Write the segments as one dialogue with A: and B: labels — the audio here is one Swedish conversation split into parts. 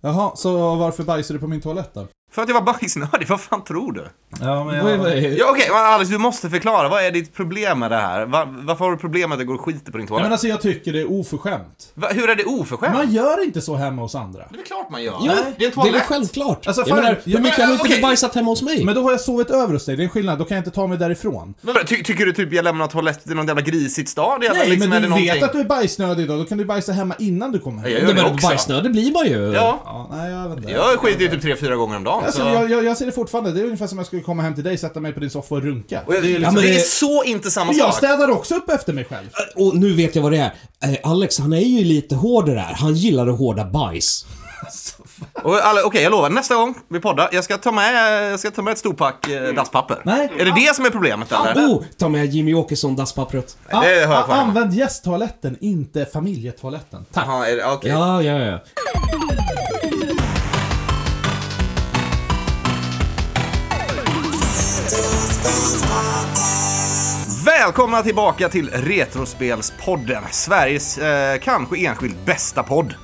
A: Jaha, så varför bajsade du på min toalett då?
B: För att jag var bajsnödig, vad fan tror du?
A: Ja, men
C: Vad är- vad är-
B: Ja, Okej, men Alice, du måste förklara. Vad är ditt problem med det här? Va- varför har du problem med att det går och skiter på din
A: Nej,
B: toalett?
A: men alltså jag tycker det är oförskämt.
B: Va, hur är det oförskämt?
A: Man gör inte så hemma hos andra.
B: Det är väl klart man gör.
C: Ja,
B: det är en
C: Det är väl
B: toalett.
C: självklart.
A: Alltså,
C: jag
A: fan,
C: menar,
A: jag
C: hur mycket har
B: menar,
C: du inte
B: okej.
C: bajsat hemma hos mig?
A: Men då har jag sovit över hos dig, det är en skillnad. Då kan jag inte ta mig därifrån.
B: Men vadå, ty, tycker du typ jag lämnar toaletten i någon jävla grisigt stad? eller
A: Nej,
B: liksom,
A: men
B: är det
A: du
B: någonting?
A: vet att du är bajsnödig idag. Då kan du bajsa hemma innan du kommer hem.
B: Jag
C: Nej,
B: gör det
C: men
B: också.
C: bajsnödig blir man ju.
B: Ja,
A: Ja, nej, jag vet inte.
B: jag skiter ju typ tre, fyra gånger om dagen.
A: Alltså,
B: så...
A: jag, jag, jag ser det fortfarande. Det är ungefär som om jag skulle komma hem till dig, sätta mig på din soffa och runka.
B: Och jag, det, är liksom,
C: men
B: det är
C: det-
B: så inte samma
A: liksom- Jag
B: sak.
A: städar också upp efter mig själv.
C: Och nu vet jag vad det är. Eh, Alex, han är ju lite hård det där. Han gillar det hårda bajs.
B: Och alla- Okej, jag lovar. Nästa gång vi poddar, jag ska ta med, jag ska ta med ett storpack eh, dasspapper.
A: Mm. Nej.
B: Är det det som är problemet eller?
C: Oh, ta med Jimmy Åkesson dasspappret.
B: Nej, det hör jag på.
A: Använd gästtoaletten, inte familjetoaletten. Tack.
B: Jaha, är det- okej.
C: Ja, ja, ja.
B: Välkomna tillbaka till Retrospelspodden, Sveriges eh, kanske enskilt bästa podd.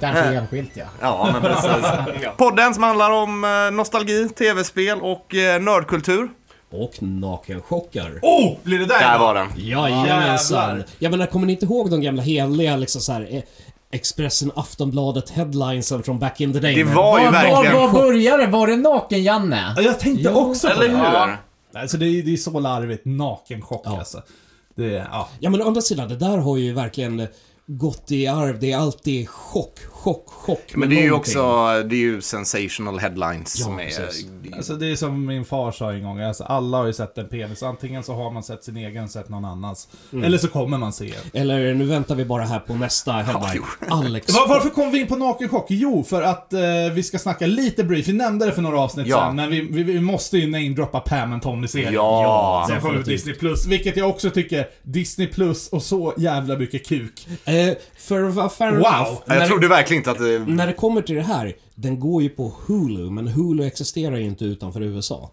A: Kanske
B: Äh.
A: enskilt, ja.
B: Ja, men precis. Podden som handlar om eh, nostalgi, tv-spel och eh, nördkultur.
C: Och nakenchockar.
A: Oh! Blir det där?
B: Där var den.
C: Jajamensan.
A: Jävlar.
C: Jag menar, kommer ni inte ihåg de gamla heliga liksom så här, eh, Expressen, Aftonbladet, headlinesen från back in the day?
B: Det
C: Men-
B: var ju
D: Var, var,
B: verkligen...
D: var började det? Var det Naken-Janne?
A: Ja, Jag tänkte också på
B: Eller
A: det.
B: hur?
A: Alltså det är, det är så larvigt. Nakenchock alltså. Det är, ja.
C: Ja men å andra sidan, det där har ju verkligen gått i arv. Det är alltid chock, chock, chock.
B: Men
C: med
B: det är ju
C: någonting.
B: också det är ju sensational headlines som är...
C: precis.
A: Alltså det är som min far sa en gång, alltså alla har ju sett en penis. Antingen så har man sett sin egen, sett någon annans.
B: Mm.
A: Eller så kommer man se en.
C: Eller nu väntar vi bara här på nästa headline. Alex.
A: Var, varför kom vi in på nakenchock? Jo, för att eh, vi ska snacka lite brief. Vi nämnde det för några avsnitt
B: Ja.
A: sedan, men vi, vi, vi måste ju namedroppa Pam and Tommy-serien.
B: Ja.
A: Sen kom vi på Disney Plus, vilket jag också tycker, Disney Plus och så jävla mycket kuk.
C: Eh, för vad fair
A: Wow.
C: enough,
B: Ja,
C: när,
B: Jag trodde verkligen inte att eh, det...
C: när det kommer till det här, den går ju på Hulu, men Hulu existerar ju inte utanför USA.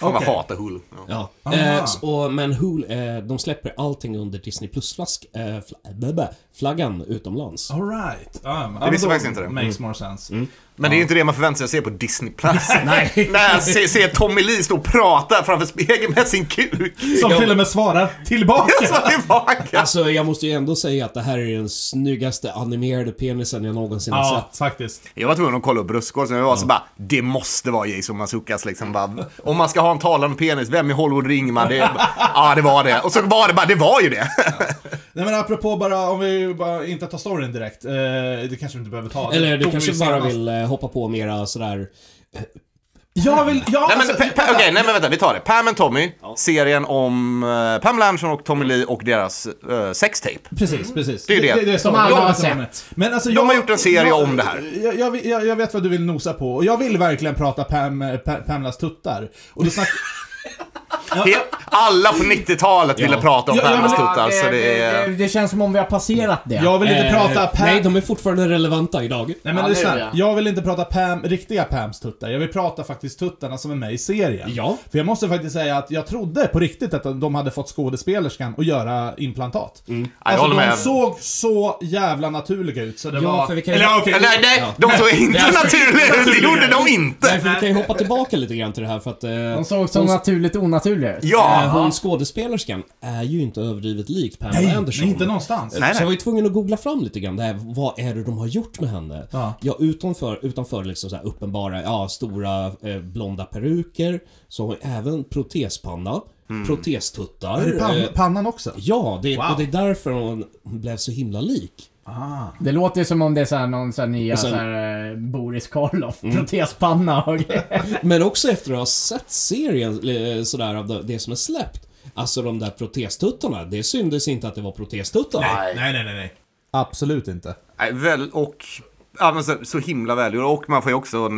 B: Fan vad jag
A: Okej.
B: hatar Hulu. Ja. Ah.
C: Ja.
A: Aha.
C: Eh, s- och, men Hulu, eh, de släpper allting under Disney Plus-flaggan eh, fl- bä- bä- flaggan
B: Ah.
C: utomlands.
A: Alright. Um,
B: Det visste faktiskt inte det. Mm.
A: Makes more sense.
B: Men det är ju inte det man förväntar sig att se på Disney Plus.
C: Nej.
B: När jag ser, ser Tommy Lee stå och prata framför spegeln med sin kuk.
A: Som till och med svarar tillbaka.
B: Så tillbaka.
C: Alltså jag måste ju ändå säga att det här är den snyggaste animerade penisen jag någonsin har
A: Ja,
C: sett.
A: faktiskt.
B: Jag var tvungen att kolla upp bröstkorgen, jag var så bara, det måste vara Jason Mazukas liksom. Bara, om man ska ha en talande penis, vem i Hollywood ringer man? Det, ja, det var det. Och så var det bara, det var ju det.
A: Nej men apropå bara, om vi bara inte tar storyn direkt. Eh, det kanske vi inte behöver ta.
C: Eller
A: Det
C: du
A: tog
C: kanske
A: vi
C: bara
A: senast.
C: vill eh, hoppa på mera sådär...
A: Jag vill, ja,
B: Nej men,
A: alltså,
B: Pa- Pa-
A: vänta.
B: Okej, nej men vänta, vi tar det. Pam and Tommy, serien om eh, Pamela Anderson och Tommy Lee och deras eh, sextape.
A: Precis, precis.
B: Det är ju det.
A: som
D: alla har
A: Men alltså,
B: har gjort en serie om det här.
A: Jag, jag, jag, jag vet vad du vill nosa på, och jag vill verkligen prata Pam, pa, Pamlas tuttar. Och då snack,
B: He- Alla på 90-talet ville prata om
A: Ja, ja,
B: Pamelas
A: men-
B: tuttar, så Alltså, det
D: det,
B: är...
D: det, det känns som om vi har passerat det.
A: jag vill inte
C: Eh,
A: prata Pam...
C: Nej, de är fortfarande relevanta idag.
A: Nej men
D: Ja,
A: lyssna,
D: det är det.
A: jag vill inte prata Pam, riktiga Pams tuttar. Jag vill prata faktiskt tuttarna som är med i serien.
C: Ja.
A: För jag måste faktiskt säga att jag trodde på riktigt att de hade fått skådespelerskan att göra implantat.
B: jag
A: Alltså
B: håller
A: de
B: med.
A: såg så jävla naturliga ut så det
C: Ja,
A: var...
C: för vi kan-
A: Eller okej.
B: Nej, nej, de såg inte naturliga ut, det gjorde de inte.
C: Nej, för vi kan ju hoppa tillbaka lite grann till det här för att... Eh,
D: De såg så naturligt onaturliga ut.
C: eh,
B: Ja,
C: hon skådespelerskan är ju inte överdrivet lik Pamela
A: Nej,
C: Anderson.
A: nej, inte någonstans.
B: Nej,
C: Så
B: nej.
C: jag var ju tvungen att googla fram lite grann det här, vad är det de har gjort med henne?
A: Ja.
C: utanför, utanför liksom så här uppenbara, ja, stora eh, blonda peruker, så har hon även protespanna, protestuttar.
A: Mm. Är det pan,
C: eh,
A: pannan också?
C: ja, det,
A: Wow.
C: och det är därför hon blev så himla lik.
D: Det låter ju som om det är så här någon så här nya
C: Och sen-
D: så här, eh, Boris Karloff,
B: Mm.
D: protespanna och
C: Men också efter att ha sett serien eh, sådär av det- det som är släppt. Alltså de där protestuttarna, det syndes inte att det var protestuttar.
A: Nej, nej, nej, nej. Absolut inte.
B: Nej, väl, och ja, men så, så himla välgjord. Och man får ju också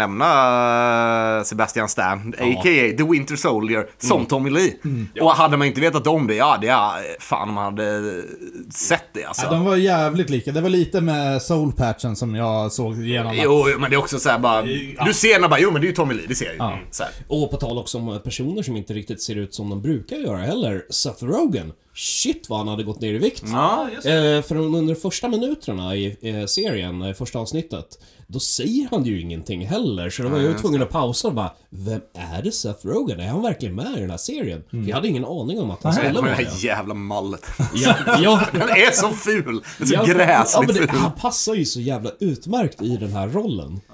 B: nämna eh, Sebastian Stan, a.k.a. The Winter Soldier, som
C: Mm.
B: Tommy Lee. Och hade man inte vetat om det, ja, det är fan om man hade eh, sett det alltså.
A: Ja, de var jävligt lika. Det var lite med soulpatchen som jag såg igenom.
B: Jo, jo, men det är också såhär bara, du ser när bara, jo men det är ju Tommy Lee, det ser jag ju. Mm, Så här.
C: Och på tal också om eh, personer som inte riktigt ser ut som de brukar göra heller. Seth Rogen. Shit vad han hade gått ner i vikt.
B: Ja, just
C: Eh, för under de första minuterna i eh, serien, eh, första avsnittet, Då säger han ju ingenting heller, så då var jag ju tvungen att pausa och bara Vem är det Seth Rogen? Är han verkligen med i den här serien? För jag hade ingen aning om att han skulle
B: Med
C: vara
B: det här
C: det.
B: jävla mallet.
C: Ja, ja,
B: Den är så ful! Den är så
C: ja, ja,
B: gräsligt
C: men det,
B: ful.
C: han passar ju så jävla utmärkt i den här rollen.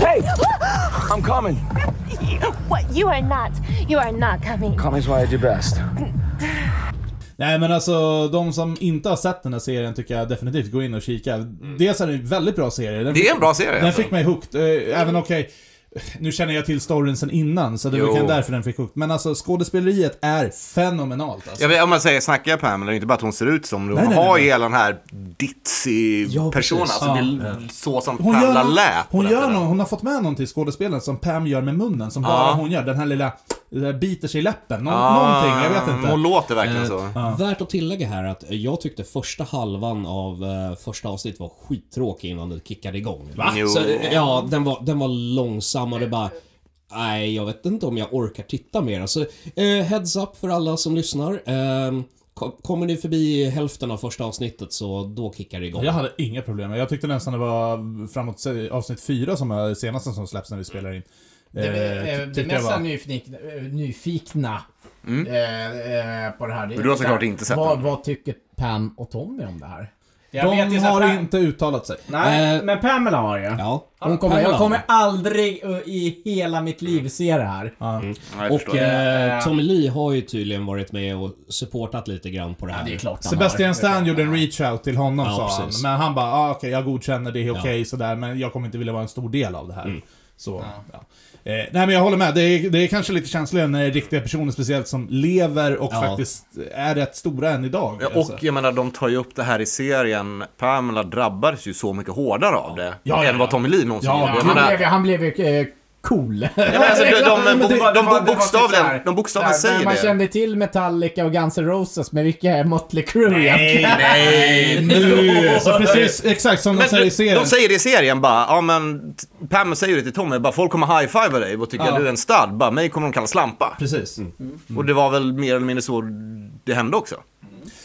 E: Hey! I'm coming.
F: What? You are not. You are not coming.
E: Coming's what I do best.
A: Nej men alltså, de som inte har sett den här serien tycker jag definitivt gå in och kika. Dels är det en väldigt bra serie. Den
B: Mm. Det är en bra serie.
A: Den
B: alltså.
A: fick mig hooked. Eh, Även okej, nu känner jag till storyn sen innan, så det är väl
B: Jo.
A: kanske därför den fick hooked. Men alltså skådespeleriet är fenomenalt alltså.
B: Jag vet, om man säger snackar jag Pamela, det är inte bara att hon ser ut som det. Hon
A: nej,
B: har
A: nej.
B: ju hela den här ditzy
C: Ja, precis.
B: personen. Alltså, det är så som
A: Hon,
B: Pamela
A: gör, någon-
B: lät. på
A: hon,
B: den
A: gör
B: tiden.
A: någon, hon har fått med någon till skådespelaren som Pam gör med munnen, som bara hon gör. Den här lilla, det där biter sig i läppen. Nå- någonting, jag vet
B: Ah. Hon
A: inte.
B: låter verkligen så.
C: Värt att tillägga här att jag tyckte första halvan av eh, första avsnittet var skittråkig innan det kickade igång. Va?
B: Jo.
C: Så, eh, ja, den var, den var långsam och det bara... Nej, jag vet inte om jag orkar titta mer. Alltså, eh, heads up för alla som lyssnar. Eh, ko- kommer ni förbi hälften av första avsnittet så då kickar det igång.
A: Jag hade inga problem. Jag tyckte nästan det var framåt se- avsnitt fyra som är det senaste som släpps när vi spelar in. Eh, ty-
D: Det, det
A: tyckte jag
D: mesta
A: var-
D: nyfikna, nyfikna eh, eh, på det här. det är
B: Mm. Men du har
D: så
B: såklart
D: här,
B: inte sett
D: vad,
B: den.
D: vad tycker Pam och Tommy om det här? Jag vet
A: De
D: ju så här,
A: har
D: Pam-
A: inte uttalat sig.
D: Nej,
C: Eh,
D: men Pamela har ju.
C: Ja.
D: Hon kommer,
C: Pamela.
D: jag kommer aldrig uh, i hela mitt liv se det här.
B: Ja, jag
C: Och
B: förstår.
C: eh, Tommy Lee har ju tydligen varit med och supportat lite grann på det här.
D: det är klart han
A: Sebastian
D: har.
A: Stan gjorde en reach-out till honom
C: Ja,
A: sa
C: precis.
A: han. Men han bara, ah, okej jag godkänner, det är okej sådär, men jag kommer inte vilja vara en stor del av det här. Så, ja. Eh, nej men jag håller med, det är, det är kanske lite känsligare när det är riktiga personer speciellt som lever och
C: Ja.
A: faktiskt är rätt stora än idag.
B: Ja,
A: alltså.
B: Och jag menar, de tar ju upp det här i serien. Pamela drabbades ju så mycket hårdare av det.
A: Ja, ja,
B: än vad Tommy Lee någonsin
A: Ja,
B: gjorde. Jag
A: men
D: Han
B: menar,
D: blev, ju- han blev ju eh, cool.
B: Ja, men alltså, de, de,
A: men
B: de,
A: det-
B: de,
D: Det var- det var
B: bokstavligen,
D: typ så här-
B: de bokstavligen
D: så här,
B: säger
D: Man
B: det.
D: kände till Metallica och Guns N' Roses, men vilka är Motley Crue egentligen?
B: Nej,
A: Nu, så precis, exakt som de
B: Men
A: säger i
B: de,
A: serien.
B: de säger det i serien bara, ja men t- Pam säger det till Tommy, bara folk kommer high-fivea dig och tycker
A: Ja.
B: att du är en stud, bara mig kommer de kalla slampa.
A: Precis.
D: Mm.
B: Och det var väl mer eller mindre så det hände också.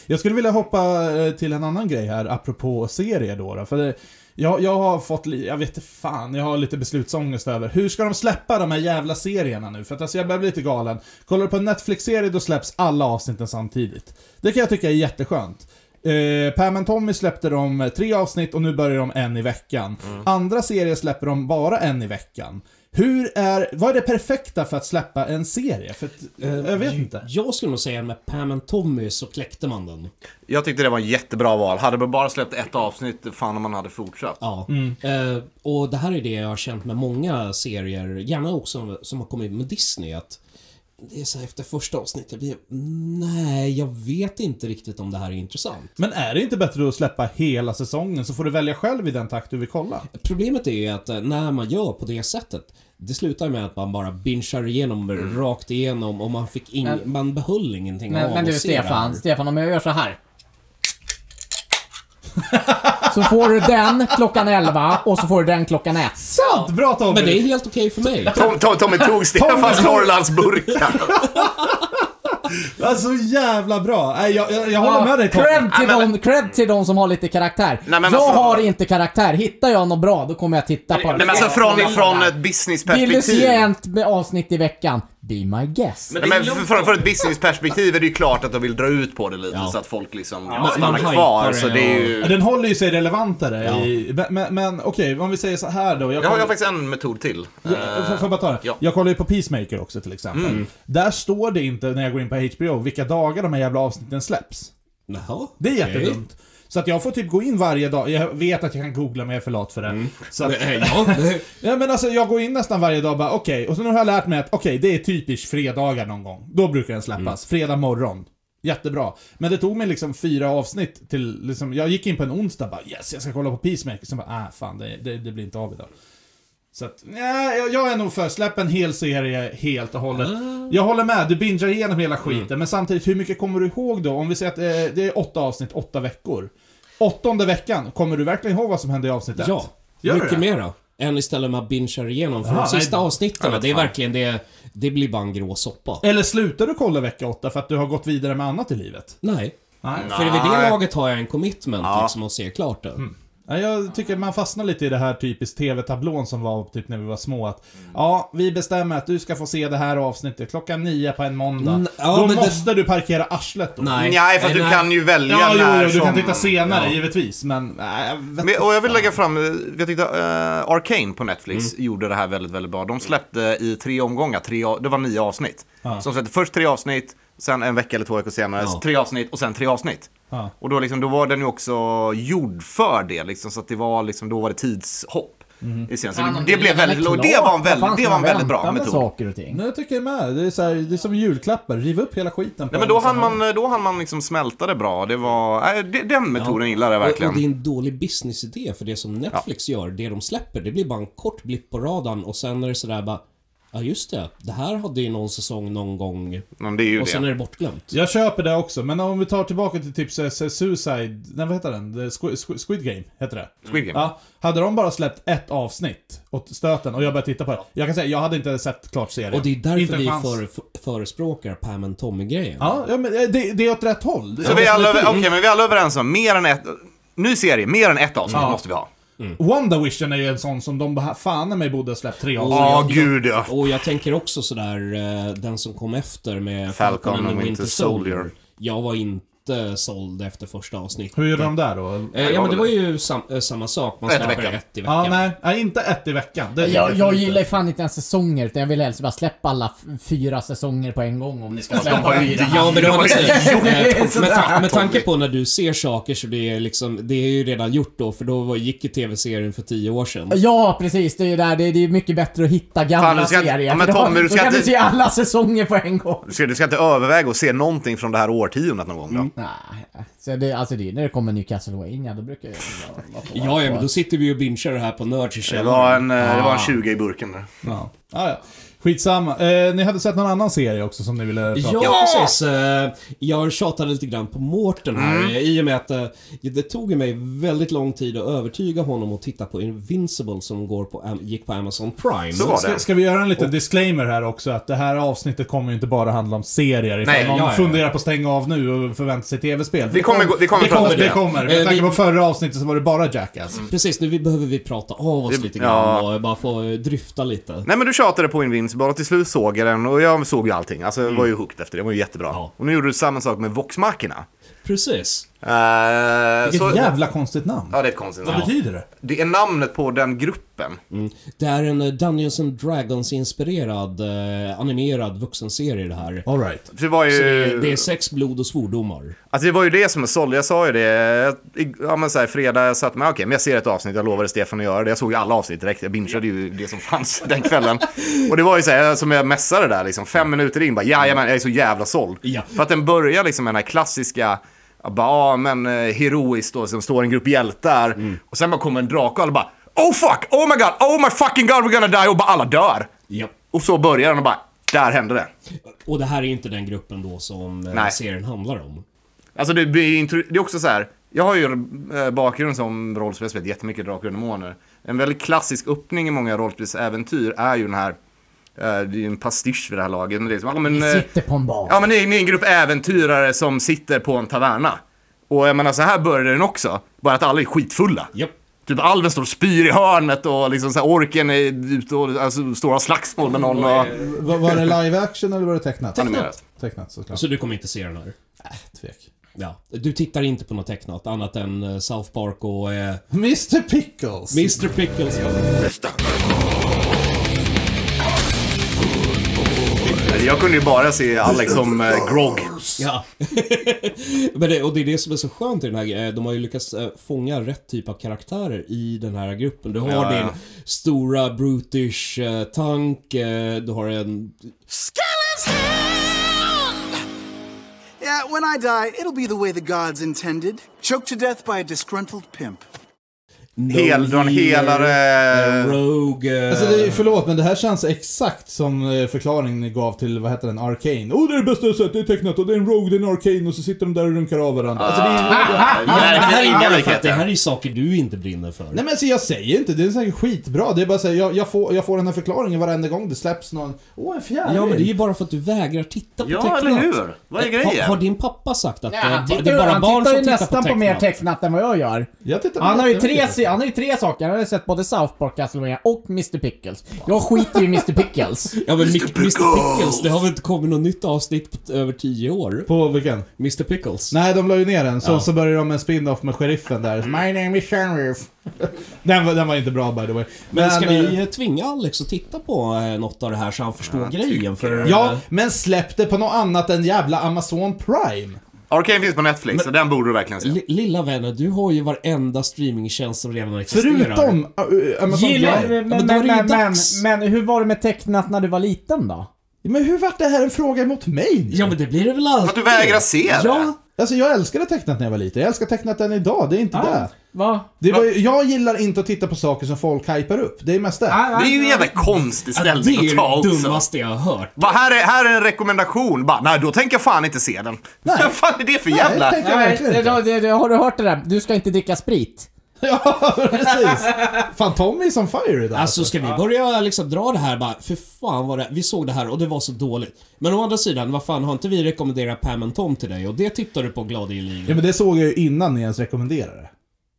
A: Jag skulle vilja hoppa eh, till en annan grej här, apropå serie då. då för det, jag, jag har fått, li- jag vet inte fan, jag har lite beslutsångest över. Hur ska de släppa de här jävla serierna nu? För att alltså, jag börjar bli lite galen. Kollar du på en Netflix-serie, då släpps alla avsnitten samtidigt. Det kan jag tycka är jätteskönt. Eh, Pam and Tommy släppte de tre avsnitt och nu börjar de en i veckan. Andra serier släpper de bara en i veckan. Hur är, vad är det perfekta för att släppa en serie? För att, eh, jag vet inte.
C: Jag skulle nog säga med Pam and Tommy så kläckte man den.
B: Jag tyckte det var en jättebra val. Hade man bara släppt ett avsnitt, fan om man hade fortsatt.
C: Ja.
A: Mm.
C: Eh, och det här är det jag har känt med många serier, gärna också som har kommit med Disney, att det är så här efter första avsnittet, jag blir, nej, jag vet inte riktigt om det här är intressant.
A: Men är det inte bättre att släppa hela säsongen så får du välja själv i den takt du vill kolla?
C: Problemet är ju att eh, när man gör på det sättet, det slutar med att man bara bingear igenom rakt igenom och man fick ing-
D: Mm. Men-
C: man behöll ingenting
D: Men,
C: av
D: men du
C: att se det här.
D: Stefan, Stefan om jag gör så här. så får du den klockan 11 och så får du den klockan 1.
A: Sant! Bra Tommy!
C: Men det är helt okej för mig.
B: Tom, Tom, Tommy tog Stefans Norrlandsburkar.
A: Alltså jävla bra! Nej, jag, jag, jag håller med dig Tommy.
D: cred, till de, cred till de som har lite karaktär.
B: Nej, men
D: jag
B: alltså-
D: har inte karaktär. Hittar jag något bra, då kommer jag titta på det.
B: Nej, men alltså från, från ett
D: Vill du
B: businessperspektiv.
D: se ett med avsnitt i veckan? Be my guest.
B: Nej, men för- från, från ett businessperspektiv är det ju klart att de vill dra ut på det lite så att folk liksom stannar
C: man
B: kvar.
C: hypar
B: Så
C: det,
B: det är
C: ja.
B: ju...
A: Den håller ju sig relevantare. I, men men, men okej, om vi säger så här då. Jag
B: Jag har,
A: kollar-
B: jag har faktiskt en metod till.
A: Ja, Får får jag bara ta det?
B: Ja.
A: Jag kollar ju på Peacemaker också till exempel. Där står det inte när jag går in på HBO vilka dagar de här jävla avsnitten släpps.
C: Jaha,
A: Det är
C: okej.
A: jättedumt. Så att jag får typ gå in varje dag. Jag vet att jag kan googla men jag är för lat för det. Så att,
C: Eh, Ja,
A: Ja men alltså jag går in nästan varje dag och bara okej, och så nu har jag lärt mig att okej, det är typiskt fredagar någon gång. Då brukar den släppas.
C: Mm.
A: Fredag morgon. Jättebra. Men det tog mig liksom fyra avsnitt till, liksom, jag gick in på en onsdag och bara yes, jag ska kolla på Peacemaker. Sen bara ah fan, det, det, det blir inte av idag. Så att, nej, jag, jag är nog för släpp en hel serie helt och hållet.
C: Ah.
A: Jag håller med, du bingar igenom hela skiten,
C: Mm.
A: men samtidigt hur mycket kommer du ihåg då? Om vi säger att eh, det är åtta avsnitt, åtta veckor. Åttonde veckan, kommer du verkligen ihåg vad som hände i avsnitt ett?
C: Ja,
A: Gör du det?
C: mycket mera. Än istället man bingear igenom. För
A: Ja,
C: de
A: nej,
C: sista
A: det-
C: avsnitten, det är verkligen det... Det blir bara en grå soppa.
A: Eller slutar du kolla vecka 8 för att du har gått vidare med annat i livet?
C: Nej.
A: Nej. Mm.
C: För vid det laget har jag en commitment
B: Ja.
C: liksom att se klart det.
A: Ja, Jag tycker man fastnar lite i det här typiskt tv-tablån som var typ när vi var små. Att, ja, vi bestämmer att du ska få se det här avsnittet klockan nio på en måndag.
C: Mm, ja,
A: då
C: men det-
A: måste du parkera arslet då.
C: Nej.
B: Nej, fast
C: Nej,
B: du
C: nej.
B: kan ju välja
A: Ja, jo,
B: när
A: jo, du
B: som...
A: kan titta senare givetvis, men... Nej, jag vet
B: Men,
A: inte
B: och jag vill
A: fan.
B: lägga fram, eh, jag tyckte eh, Arcane på Netflix
C: Mm.
B: gjorde det här väldigt, väldigt bra. De släppte i tre omgångar, tre, av- det var nio avsnitt.
A: Ja.
B: Så de släppte först tre avsnitt, sen en vecka eller två veckor senare,
C: Ja.
B: tre avsnitt och sen tre avsnitt.
A: Ja.
B: Och då, liksom, då var den ju också gjord för det, liksom, så att det var, liksom, då var det tidshopp.
A: Mm.
B: I serien. så
D: Fan,
B: det,
D: om
B: Mm, det,
D: det
B: blev
D: redan är
B: väldigt, och det
D: klart,
B: var en
D: vad fan
B: väldigt, det
D: ska
B: var en
D: man
B: väldigt bra
D: vänta med
B: metod.
D: saker och ting.
A: Nej, jag tycker med. Det är, så här, det är som julklappar, riv upp hela skiten. på
B: Nej, men
A: en
B: då
A: och
B: hann
A: samma gång.
B: man, då hann man liksom smälta det bra. Det var, nej, det, den metoden gillade jag verkligen.
C: Och, och det är en dålig businessidé för det som Netflix gör, det de släpper, det blir bara en kort blipp på radarn och sen är det sådär bara Ja just det, det här hade ju någon säsong någon
A: Mm,
C: gång
B: Men det är ju
C: och sen är
B: det.
C: det bortglömt.
A: Jag köper det också, men om vi tar tillbaka till typ så- så- Suicide... Nej, vad heter den? The Squ- Squ- Squid Game, heter det.
B: Squid Game.
A: Ja, hade de bara släppt ett avsnitt åt stöten och jag började titta på det. Jag kan säga, jag hade inte sett klart serien.
C: Och det är
A: Inte
C: därför
A: en
C: vi
A: chans.
C: för, för, förespråkar Pam and Tommy-grejen.
A: Ja, ja men eh, det, det är åt rätt håll.
B: Så vi är alla, över- okej, men vi är alla överens om mer än ett, ny serie, mer än ett avsnitt
A: Ja.
B: måste vi ha.
A: WandaVision är ju en sån som de bara- fan i mig borde ha släppt tre avsnitt.
B: Ja, gud ja.
C: Och jag tänker också sådär, eh, den som kom efter med
B: Falcon and Winter Soldier.
C: Jag var inte såld efter första avsnittet.
A: Hur gör de där då?
C: Eh, ja men det var ju sam, eh, samma sak, man
B: Ett i
C: släpper
B: veckan.
C: ett i veckan.
A: Ja, nej, nej, inte ett i veckan. Det är
D: Jag,
A: för
D: jag
A: lite.
D: gillar ju fan inte ens säsonger, utan jag vill helst bara släppa alla f- fyra säsonger på en gång om ni ska släppa
B: har ju
D: fyra.
B: inte
C: Ja, men det har man
D: Det är
C: inte.
D: sådär,
C: eh, Med, ta- med tanke på när du ser saker så det är liksom, det är ju redan gjort då för då var, gick ju TV-serien för tio år sedan.
D: Ja, precis. Det är ju där. Det är det är ju mycket bättre att hitta gamla
B: Fan, du ska-
D: serier.
B: ja, men
D: för då-
B: Tommy, du ska
D: då kan du
B: inte-
D: se alla säsonger på en gång.
B: Du ska, du ska inte överväga att se någonting från det här årtiondet någon gång då?
D: Nej, så det, alltså det är när det kommer en ny Castlevania, då brukar jag vara- vara på-
C: Ja, ja, men då sitter vi och bingear det här på Nerds i
B: Det, var
C: källaren.
B: en, eh, det var en 20 i burken där.
A: Ja. Ah, ja. Skitsamma. Eh, ni hade sett någon annan serie också som ni ville prata om?
C: Ja, precis. Eh, Jag tjatade lite grann på Mårten här
B: Mm.
C: eh, i och med att eh, det tog ju mig väldigt lång tid att övertyga honom att titta på Invincible som går på, Am- gick på Amazon Prime.
B: Så var
A: Ska,
B: det.
A: ska vi göra en liten disclaimer här också? Att det här avsnittet kommer ju inte bara handla om serier. Ifall
B: Nej,
A: någon
C: ja, ja.
A: funderar på att stänga av nu och förväntar sig tv-spel.
B: Vi kommer gå- vi kommer
A: det
B: prata om Mm.
A: kommer,
B: det.
A: det kommer. Med
C: Eh,
A: tanke
C: vi-
A: på förra avsnittet så var det bara Jackass.
C: Precis, nu vi- behöver vi prata av oss
B: Det-
C: lite
B: ja.
C: grann och bara få eh, dryfta lite.
B: Nej men du tjatade på Invincible och till slut såg jag den och jag såg ju allting. Alltså jag var ju hooked efter det, det var ju jättebra.
C: Ja.
B: Och nu gjorde du samma sak med Voxmarkerna.
C: Precis.
B: Uh,
A: Vilket jävla konstigt namn.
B: Ja, det är ett konstigt
A: Vad
B: namn.
A: betyder det?
B: Det är namnet på den gruppen.
C: Det är en eh, Dungeons and Dragons-inspirerad eh, animerad vuxenserie det här.
A: Alright.
B: Det var ju...
C: Så det, är- det är sex, blod och svordomar.
B: Alltså det var ju det som jag sålde, jag sa ju det, jag- i- ja men såhär fredag, jag satt med, okej men jag ser ett avsnitt, jag lovade Stefan att göra det, jag såg ju alla avsnitt direkt, jag bingeade ju det som fanns den kvällen. Och det var ju såhär, som jag messade där liksom, fem minuter in bara, jajamän, jag är så jävla såld.
C: Ja.
B: För att den börjar liksom med den här klassiska, ja, bara, ja men eh, heroiskt då, som står en grupp hjältar, och sen bara kommer en drake och alla bara, oh fuck, oh my god, oh my fucking god, we're gonna die, och bara alla dör.
C: Japp.
B: Och så börjar den och bara, där hände det.
C: Och det här är inte den gruppen då som eh,
B: Nej.
C: serien handlar om.
B: Alltså det, blir intro- det är också så här. Jag har ju eh, bakgrund som rollspelsspelare, jättemycket Drakar och Demoner. En väldigt klassisk öppning i många rollspelsäventyr är ju den här, eh, det är ju en pastisch vid det här laget. Men det är liksom, ja, men,
D: Vi
B: eh,
D: sitter på en bar.
B: ja, men ni, är- ni är en grupp äventyrare som sitter på en taverna. Och jag menar så här börjar den också, bara att alla är skitfulla.
C: Japp.
B: Typ alven står och spyr i hörnet och liksom så här, orken är ute och alltså, står och har slagsmål med någon. Och...
A: Var, var det live action eller var det tecknat?
B: Animerat.
A: Tecknat såklart. Äh,
C: Så Alltså, du kommer inte se den här?
A: Tvek.
C: Ja. Du tittar inte på något tecknat annat än eh, South Park och eh,
A: Mr Pickles.
C: Mr Pickles.
B: Jag kunde ju bara se Alex som eh, Grog.
C: Ja. Men det, och det är det som är så skönt i den här eh, De har ju lyckats eh, fånga rätt typ av karaktärer i den här gruppen. Du har
B: Ja,
C: din
B: ja.
C: stora brutish eh, tank, eh, du har en...
G: Yeah, when I die, it'll be the way the gods intended choked to death by a disgruntled pimp.
B: Hel, du har en helare...
C: eh, Rogue... eh,
A: Alltså det är, förlåt, men det här känns exakt som eh, förklaringen ni gav till, vad heter den, Arcane. Åh, oh, det är det bästa jag har sett, det är tecknat och det är en Rogue, det är en Arcane och så sitter de där och runkar av varandra. Alltså, det är,
B: Nej,
C: det, här
B: inga
C: är ju för att
B: likheter.
C: det här är ju saker du inte brinner för.
A: nej men alltså jag säger inte, det är säkert skitbra. Det är bara så här, jag, jag, får, jag får den här förklaringen varenda gång det släpps någon. Åh, en fjäril!
C: Ja, men det är ju bara för att du vägrar titta på
B: Ja,
C: tecknat.
B: eller hur? Vad är
C: Eh,
B: grejen?
C: Har, har din pappa sagt att
D: Ja,
C: eh,
D: han
C: det
D: tittar,
C: är bara
D: han
C: barn
D: tittar
C: som
D: ju
C: tittar
D: nästan på, mer tecknat än vad jag gör.
A: Jag tittar på
D: Han har, ju tre,
A: jättemycket.
D: se- han har ju tre saker. Han har ju sett både South Park, Castlevania och Mr Pickles. Jag skiter ju i Mr Pickles.
C: Ja, men Mr. Pickles. det har väl inte kommit något nytt avsnitt på över tio år?
A: På vilken?
C: Mr Pickles.
A: Nej, de la ju ner den. Så, så började de med en spin-off med sheriffen där. My name is sheriff. den, var, den var inte bra by the way.
C: Men ska
A: eh,
C: vi eh, tvinga Alex att titta på eh, något av det här så han förstår grejen? För, eh,
A: Ja, men släpp det på något annat än jävla Amazon Prime.
B: Arcane finns på Netflix, så den borde du verkligen se.
C: Li- Lilla vännen, du har ju varenda streamingtjänst som redan existerar.
A: Förutom uh, Amazon
D: Gillar,
A: Prime.
D: men,
C: men då
D: men,
C: är det ju
D: men, men,
C: dags.
D: hur var det med tecknat när du var liten då?
A: Men hur vart det här en fråga mot mig?
C: Ja, men det blir det väl alltid?
B: För att du vägrar se det.
C: Ja.
A: Alltså jag älskade tecknat när jag var liten. Jag älskar tecknat än idag, det är
C: Ah.
A: inte det.
D: Va?
A: det var, ju- jag gillar inte att titta på saker som folk hypar upp. Det är mest det.
B: Det är ju en jävla konstig
C: Det
B: ställning
C: är
B: att ta
C: det
B: också.
C: dummaste jag har hört.
B: Va, här, är, här är en rekommendation. Bara, nej, då tänker jag fan inte se den.
A: Nej.
B: Vad fan är det för
A: Nej,
B: jävla...
A: det tänker jag
D: Nej,
A: verkligen
D: det,
A: inte.
D: det, det, det, har du hört det där? Du ska inte dricka sprit.
A: Ja, precis. Fan, Tommy är som fire idag.
C: Alltså ska vi börja liksom dra det här bara, för fan vad det, vi såg det här och det var så dåligt. Men å andra sidan, vad fan har inte vi rekommenderat Pam and Tom till dig och det tittar du på glad i livet.
A: Ja, men det såg jag ju innan ni ens rekommenderade det.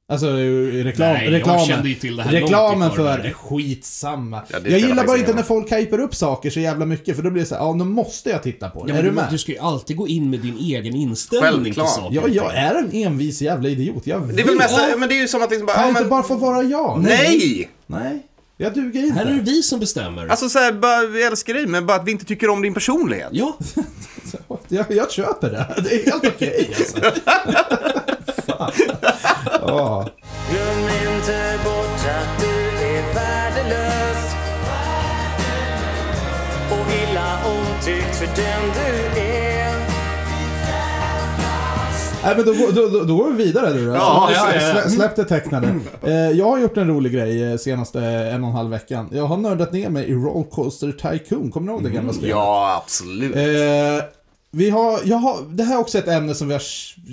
A: Alltså i reklam,
C: Nej, jag
A: reklamen.
C: kände ju till det här
A: reklamen
C: långt i
A: för
C: förväg.
A: det. Skitsamma.
B: Ja, det
A: jag
B: spelar
A: gillar bara
B: faktiskt
A: inte
B: ingen
A: när folk hypar upp saker så jävla mycket för då blir det så här, ja nu måste jag titta på det.
C: Ja,
A: är
C: men
A: du
C: du,
A: med?
C: du ska ju alltid gå in med din egen inställning
B: Självklart.
C: till saker.
A: Ja, jag är en envis jävla idiot. Jag
B: Det är väl mest, men det är ju som att liksom bara...
A: Kan
B: ja,
A: jag inte
B: men,
A: bara få vara jag?
B: nej!
A: Nej. Jag duger inte.
C: Här är det vi som bestämmer.
B: Alltså såhär, bara, vi älskar dig, men bara att vi inte tycker om din personlighet.
C: ja,
A: Jag, jag köper det. Det är helt okej alltså. Fan. Ja.
H: Glöm inte bort att du är värdelös och illa omtyckt för den du är
A: Nej, men då, går- då, då, då går vi vidare nu då.
B: Ja,
A: Alltså,
B: ja, Mm. ja.
A: slä- Släpp det tecknade. Eh, jag har gjort en rolig grej eh, senaste en och en halv veckan. Jag har nördat ner mig i Rollcoaster Tycoon. Kommer ni ihåg det gamla spelet?
B: Mm. Ja, absolut.
A: Eh, vi har, jag har, det här är också ett ämne som vi har,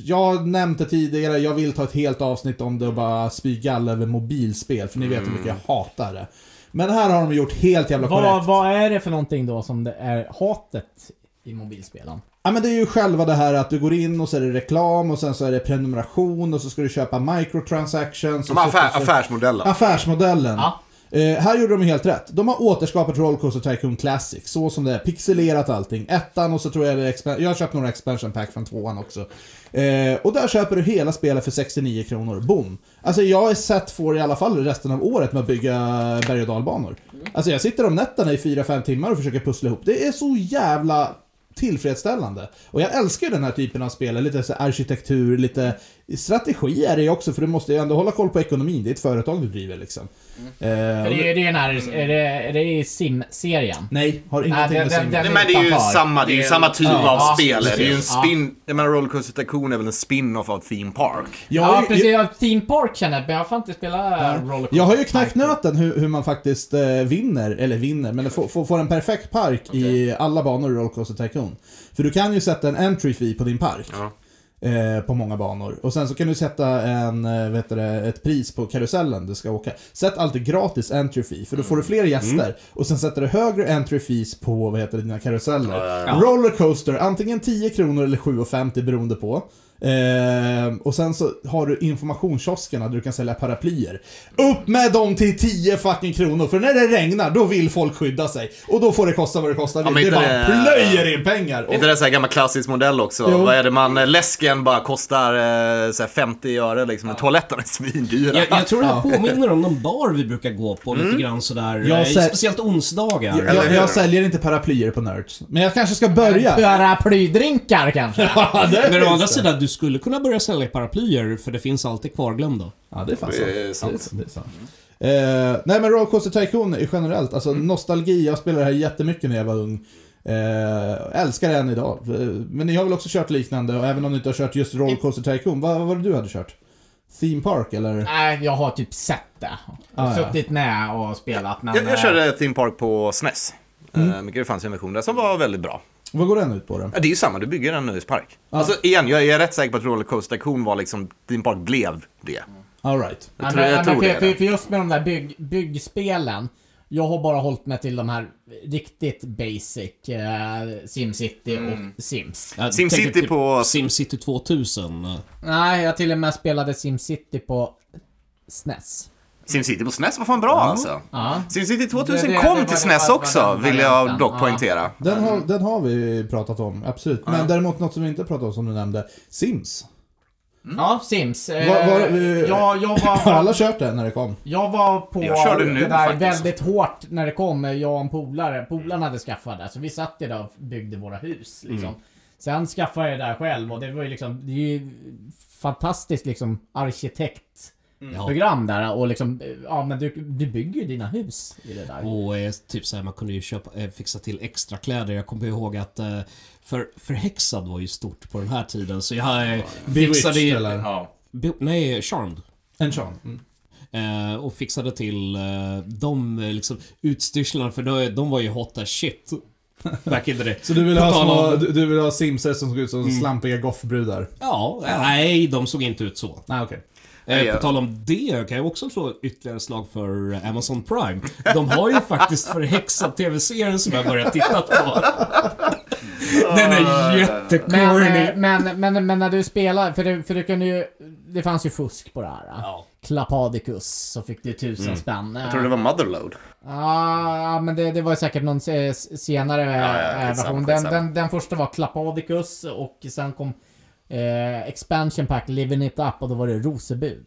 A: jag har nämnt det tidigare, jag vill ta ett helt avsnitt om det och bara spy galla över mobilspel, för ni vet hur mycket
B: Mm.
A: jag hatar det. Men här har de gjort helt jävla
D: Vad,
A: korrekt.
D: vad är det för någonting då som det är hatet i mobilspelen?
A: Ja men det är ju själva det här att du går in och så är det reklam och sen så är det prenumeration och så ska du köpa microtransactions.
B: Som
A: och så-
B: affär,
A: så-
B: affärsmodellen.
A: Affärsmodellen.
D: Ja.
A: Eh, här gjorde de helt rätt. De har återskapat Rollcoaster Tycoon Classic, så som det är. Pixelerat allting. Ettan och så tror jag det är expan- Jag har köpt några expansion pack från tvåan också. Eh, och där köper du hela spelet för 69 kronor. Boom! Alltså jag är sett får i alla fall resten av året med att bygga berg och dalbanor. Alltså jag sitter om nätterna i 4-5 timmar och försöker pussla ihop. Det är så jävla tillfredsställande. Och jag älskar ju den här typen av spel, lite så här arkitektur, lite strategi är det ju också för du måste ju ändå hålla koll på ekonomin, det är ett företag du driver liksom. Eh, och
D: Mm. Det
A: det-
D: är, det är, den här, är, det, är det i sim-serien?
A: Nej, har ingenting
D: den-
A: med
D: den-
A: sin...
D: den-
B: Nej, men det är ju
D: utanför.
B: samma, det är ju samma typ
D: Ja,
B: av
D: ja,
B: spel. Det är ju en
D: precis. Ja.
B: spin... Jag menar, Rollercoaster Tycoon är väl en spin-off av Theme Park?
A: Jag har
D: Ja,
A: ju-
D: precis. Jag, Theme Park känner jag, men jag får inte spela Roller
A: Jag har ju knäckt nöten hur, hur man faktiskt eh, vinner, eller vinner, men får, får, får en perfekt park i alla banor i Rollcoaster Tycoon. För du kan ju sätta en entry fee på din park. Eh, på många banor. Och sen så kan du sätta en, eh, vet du, det, ett pris på karusellen du ska åka. Sätt alltid gratis entry fee, för då
B: Mm.
A: får du fler gäster. Och sen sätter du högre entry fees på, vad heter det, dina karuseller. Rollercoaster, antingen 10 kronor eller 7,50 beroende på. Ehm, och sen så har du informationskioskerna där du kan sälja paraplyer. Upp med dem till 10 fucking kronor, för när det regnar då vill folk skydda sig. Och då får det kosta vad det kostar.
B: men
A: det är
B: inte
A: bara
B: det-
A: plöjer in pengar.
B: Är
A: Och,
B: inte det så här gammal klassisk modell också?
A: Jo.
B: Vad är det man, eh, läsken bara kostar eh, så här 50 öre liksom, men toaletterna är svindyra.
C: jag, jag tror det här påminner om någon bar vi brukar gå på lite grann sådär.
A: Jag
C: eh,
A: ser-
C: Speciellt onsdagar.
B: Mm. eller
A: jag,
B: hur?
A: jag säljer inte paraplyer på Nerds. Men jag kanske ska börja.
D: Paraplydrinkar kanske?
A: Ja, det
C: Men å andra
A: finns det.
C: sidan, du skulle kunna börja sälja paraplyer för det finns alltid kvarglömda.
A: Ja, det är fan sant.
B: Det är sant.
A: Det är sant. Eh, nej men Rollcoaster Tycoon är generellt, alltså
B: Mm.
A: nostalgi, jag spelade det här jättemycket när jag var ung. Eh, älskar det än idag. Eh, Men ni har väl också kört liknande, och även om ni inte har kört just Rollcoaster Tycoon, vad, vad var det du hade kört? Theme Park eller?
D: Nej, jag har typ sett det.
A: Ah, ja.
D: Suttit med och spelat, men...
B: Jag, jag
D: eh,
B: körde Theme Park på SNES. Mm. mycket det fanns en version där som var väldigt bra.
A: Vad går den ut på då?
B: Ja, det är ju samma, du bygger en nöjespark. Alltså igen, jag är rätt säker på att Rollercoaster Tycoon var liksom, Theme Park blev det.
D: Mm.
A: All right.
B: Jag tror, jag
D: men
B: tror det
D: för,
B: är
D: för,
B: det.
D: för just med de där bygg, byggspelen. Jag har bara hållit mig till de här riktigt basic, eh, Simcity
B: Mm.
D: och Sims.
C: Jag
B: SimCity
C: tänker typ
B: på-
C: SimCity 2000. eh,
D: Nej, jag till och med spelade Simcity på E SNES.
B: SimCity på SNES var fan bra alltså.
D: Ja.
B: SimCity 2000
D: Det- det-
B: kom
D: det var-
B: till
D: det
B: SNES
D: var-
B: också,
D: var den
B: vill jag
D: varianten.
B: dock
D: Ja.
B: poängtera.
A: Den har, den har vi pratat om, absolut. Men däremot något som vi inte pratat om som du nämnde, Sims.
B: Mm.
D: Ja, Sims. eh,
A: Var- var- eh,
D: jag, jag
A: Har
D: var...
A: alla kört den när det kom?
D: Jag var på
B: Jag körde nu
D: det där
B: faktiskt.
D: väldigt hårt när det kom. Jag och en polare, polaren hade skaffat det. Så vi satt i det och byggde våra hus.
B: Mm.
D: Liksom. Sen skaffade jag det där själv och det var ju liksom, det är ju fantastiskt liksom arkitektprogram
B: Mm.
D: där och liksom, ja men du, du bygger ju dina hus i det
B: Mm.
D: där.
C: Och eh, typ såhär, man kunde ju köpa, eh, fixa till extra kläder. Jag kommer ihåg att eh, för, förhäxad var ju stort på den här tiden så jag eh, fixade
A: Bewitched
C: ju...
A: eller?
I: Ja.
C: Be- nej, Charmed.
A: En sån. Mm.
C: Eh, och fixade till eh, de eh, liksom, utstyrslarna för de, de var ju hot as shit. Back in the day.
A: Så du vill,
C: På
A: ha
C: tal
A: små,
C: om-
A: du, du vill ha simser som ser ut som
B: Mm.
A: slampiga goffbrudar?
C: Ja, nej, de såg inte ut så.
A: Nej, okej.
C: Eh,
B: ja.
C: på tal om det kan jag också slå ytterligare slag för eh, Amazon Prime. De har ju faktiskt förhäxad TV-serien som jag börjat titta på. Den
B: Ah.
C: är
D: Men, eh,
C: jättecorny.
D: men, men, men när du spelar, för du, för du kunde ju, det fanns ju fusk på det här.
C: Ja.
D: Klapadicus, så fick du tusen spänn.
B: Mm. Jag tror det var Motherload.
D: Ja, ja, men det, det var ju säkert någon eh, s- senare
B: ja,
D: eh,
B: skitsamma,
D: version. Den,
B: skitsamma.
D: den, den första var Klapadicus och sen kom eh, Expansion Pack Living It Up och då var det Rosebud.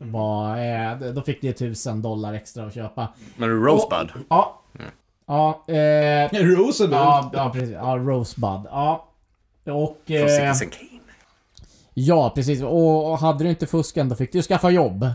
A: Mm.
D: Var, eh, då fick det 1000 dollar extra att köpa.
B: Men Rosebud.
D: Ja.
B: Mm.
D: Ja, eh,
A: Rosebud?
D: ja, ja precis. Ja, Rosebud. Ja. Och...
B: Från
D: Eh,
B: Citizen Kane.
D: ja, precis. Och, och hade du inte fusken då fick du ju skaffa
B: Eh,
D: jobb.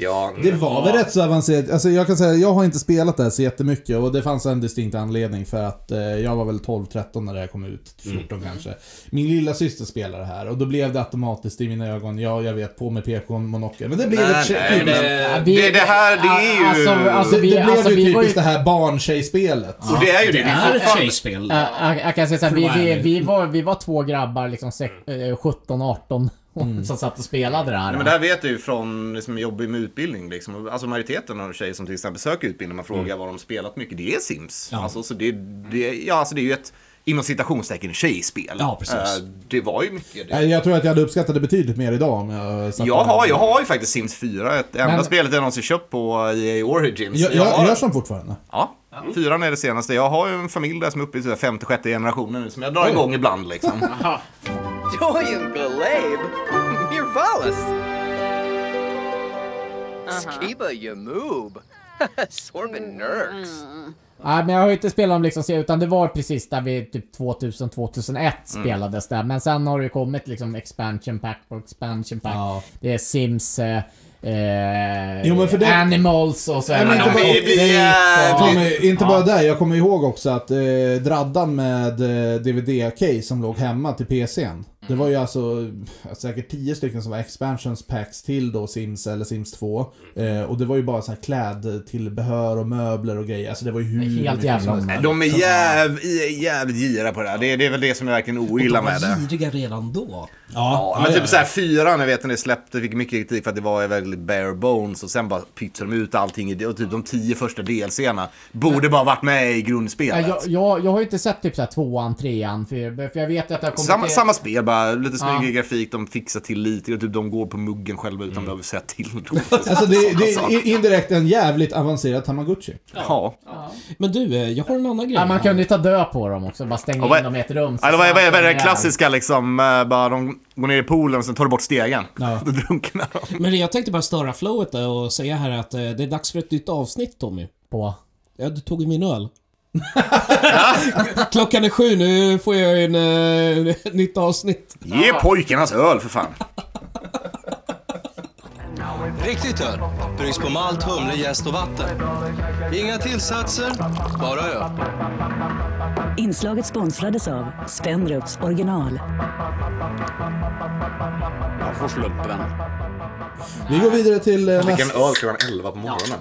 B: Ja,
A: Det var väl rätt så avancerat. Alltså jag kan säga, jag har inte spelat det här så jättemycket och det fanns en distinkt anledning för att eh, jag var väl 12-13 när det här kom ut,
B: Mm.
A: 14 kanske. Min lilla syster spelade det här och då blev det automatiskt i mina ögon, ja jag vet, på med PK monokel. Men det blev
B: Nej,
A: ett tje-
B: nej,
A: kul-
B: men-
D: Ja,
B: det- det här, det är ju-
D: Alltså, alltså,
A: det,
D: vi,
A: det blev
D: alltså,
A: ju
D: vi var
A: typiskt
D: ju
A: det här barntjejspelet.
B: Och det är ju det.
C: Det
B: det
C: är
B: är
C: ett
B: fortfarande...
C: tjejspel.
D: Ja, Jag, jag kan säga såhär, vi, vi,
C: Prime.
D: vi, var, vi var två grabbar liksom sek- eh, 17, 18
A: Mm.
D: som satt och spelade det här.
B: Mm. Nej, men det här vet du ju från liksom, jobb med utbildning. Liksom. Alltså majoriteten av tjejer som till exempel söker utbildning, man frågar vad de spelat mycket, det är Sims. Alltså, så det, det, ja, alltså, det är ju ett inom citationstecken tjejspel.
C: Ja, precis.
B: Eh, det var ju mycket det.
A: Nej, Jag tror att jag hade uppskattat det betydligt mer idag om jag satt
B: Jag
A: där.
B: har, jag har ju faktiskt Sims 4, ett enda
D: Men-
B: spelet jag någonsin köpt på EA Origins.
A: Jag,
B: har-
A: jag gör som fortfarande.
B: Ja, fyran är det senaste. Jag har ju en familj där som är uppe i så här femte, sjätte generationen nu som jag drar igång ibland liksom.
H: Doyen Glaive? Mirvalis! Skiba Yamoob? Sorbin Nurks.
D: Nej, men jag har ju inte spelat om liksom, se- utan det var precis där vi typ 2000, 2001
B: Mm.
D: spelades där. Men sen har det ju kommit liksom expansion pack på expansion pack.
A: Ja.
D: Det är Sims, eh, eh,
A: Jo, men för det-
D: Animals och så
A: Nej, men
D: är det-
A: inte bara-
D: Update
B: det blir-
D: och-
A: Ja, men inte bara där, jag kommer ihåg också att eh, draddan med eh, DVD-case som låg hemma till PCn. Det var ju alltså eh, säkert 10 stycken som var expansions packs till då Sims eller Sims 2. Eh, och det var ju bara så här klädtillbehör och möbler och grejer. Alltså det var ju hur
D: Helt
A: mycket
D: jävla
A: som helst.
D: omöjligt.
B: De är jäv, jävligt gira på det här. Det, är- det är väl det som jag verkligen ogillar med det.
C: giriga redan då.
A: Ja,
B: Ja, men
A: ja.
B: typ såhär fyran, jag vet när det släppte, fick mycket kritik för att det var väldigt bare bones och sen bara pytsade de ut allting i det och typ de tio första DLC'na borde bara varit med i
D: Ja,
B: grundspelet.
D: jag, jag, jag har ju inte sett typ så här tvåan, trean, för, för jag vet att det har kommit...
B: Samma,
D: till-
B: samma spel bara, lite snyggare
D: Ja.
B: grafik, de fixar till lite och typ de går på muggen själva utan behöver säga till.
A: Mm. Alltså det, det är i- indirekt en jävligt avancerad Tamagotchi.
B: ja.
C: Men du, eh, jag har en annan grej.
D: Ja, man kunde ju ta död på dem också, bara stänga
B: Och vad-
D: in dem i ett rum. så
B: Eller vad är, vad är, vad är det
D: snabbt de ihjäl.
B: klassiska liksom? eh, Bara de går ner i poolen och sen tar du bort stegen.
A: Ja.
B: Då drunknar de.
C: Men jag tänkte bara störa flowet där och säga här att eh, det är dags för ett nytt avsnitt Tommy.
D: På.
C: Ja, du tog ju min öl. Klockan är sju, nu får jag en, eh, ett nytt avsnitt.
B: Ge pojken hans öl för fan.
J: Riktigt öl. Bryggs på malt, humle, jäst och vatten. Inga tillsatser, bara öl.
K: Inslaget sponsrades av Spendrups original.
J: Jag får slumpen.
A: Vi går vidare till eh,
B: Vilken
A: nästa...
B: öl klockan 11 på morgonen.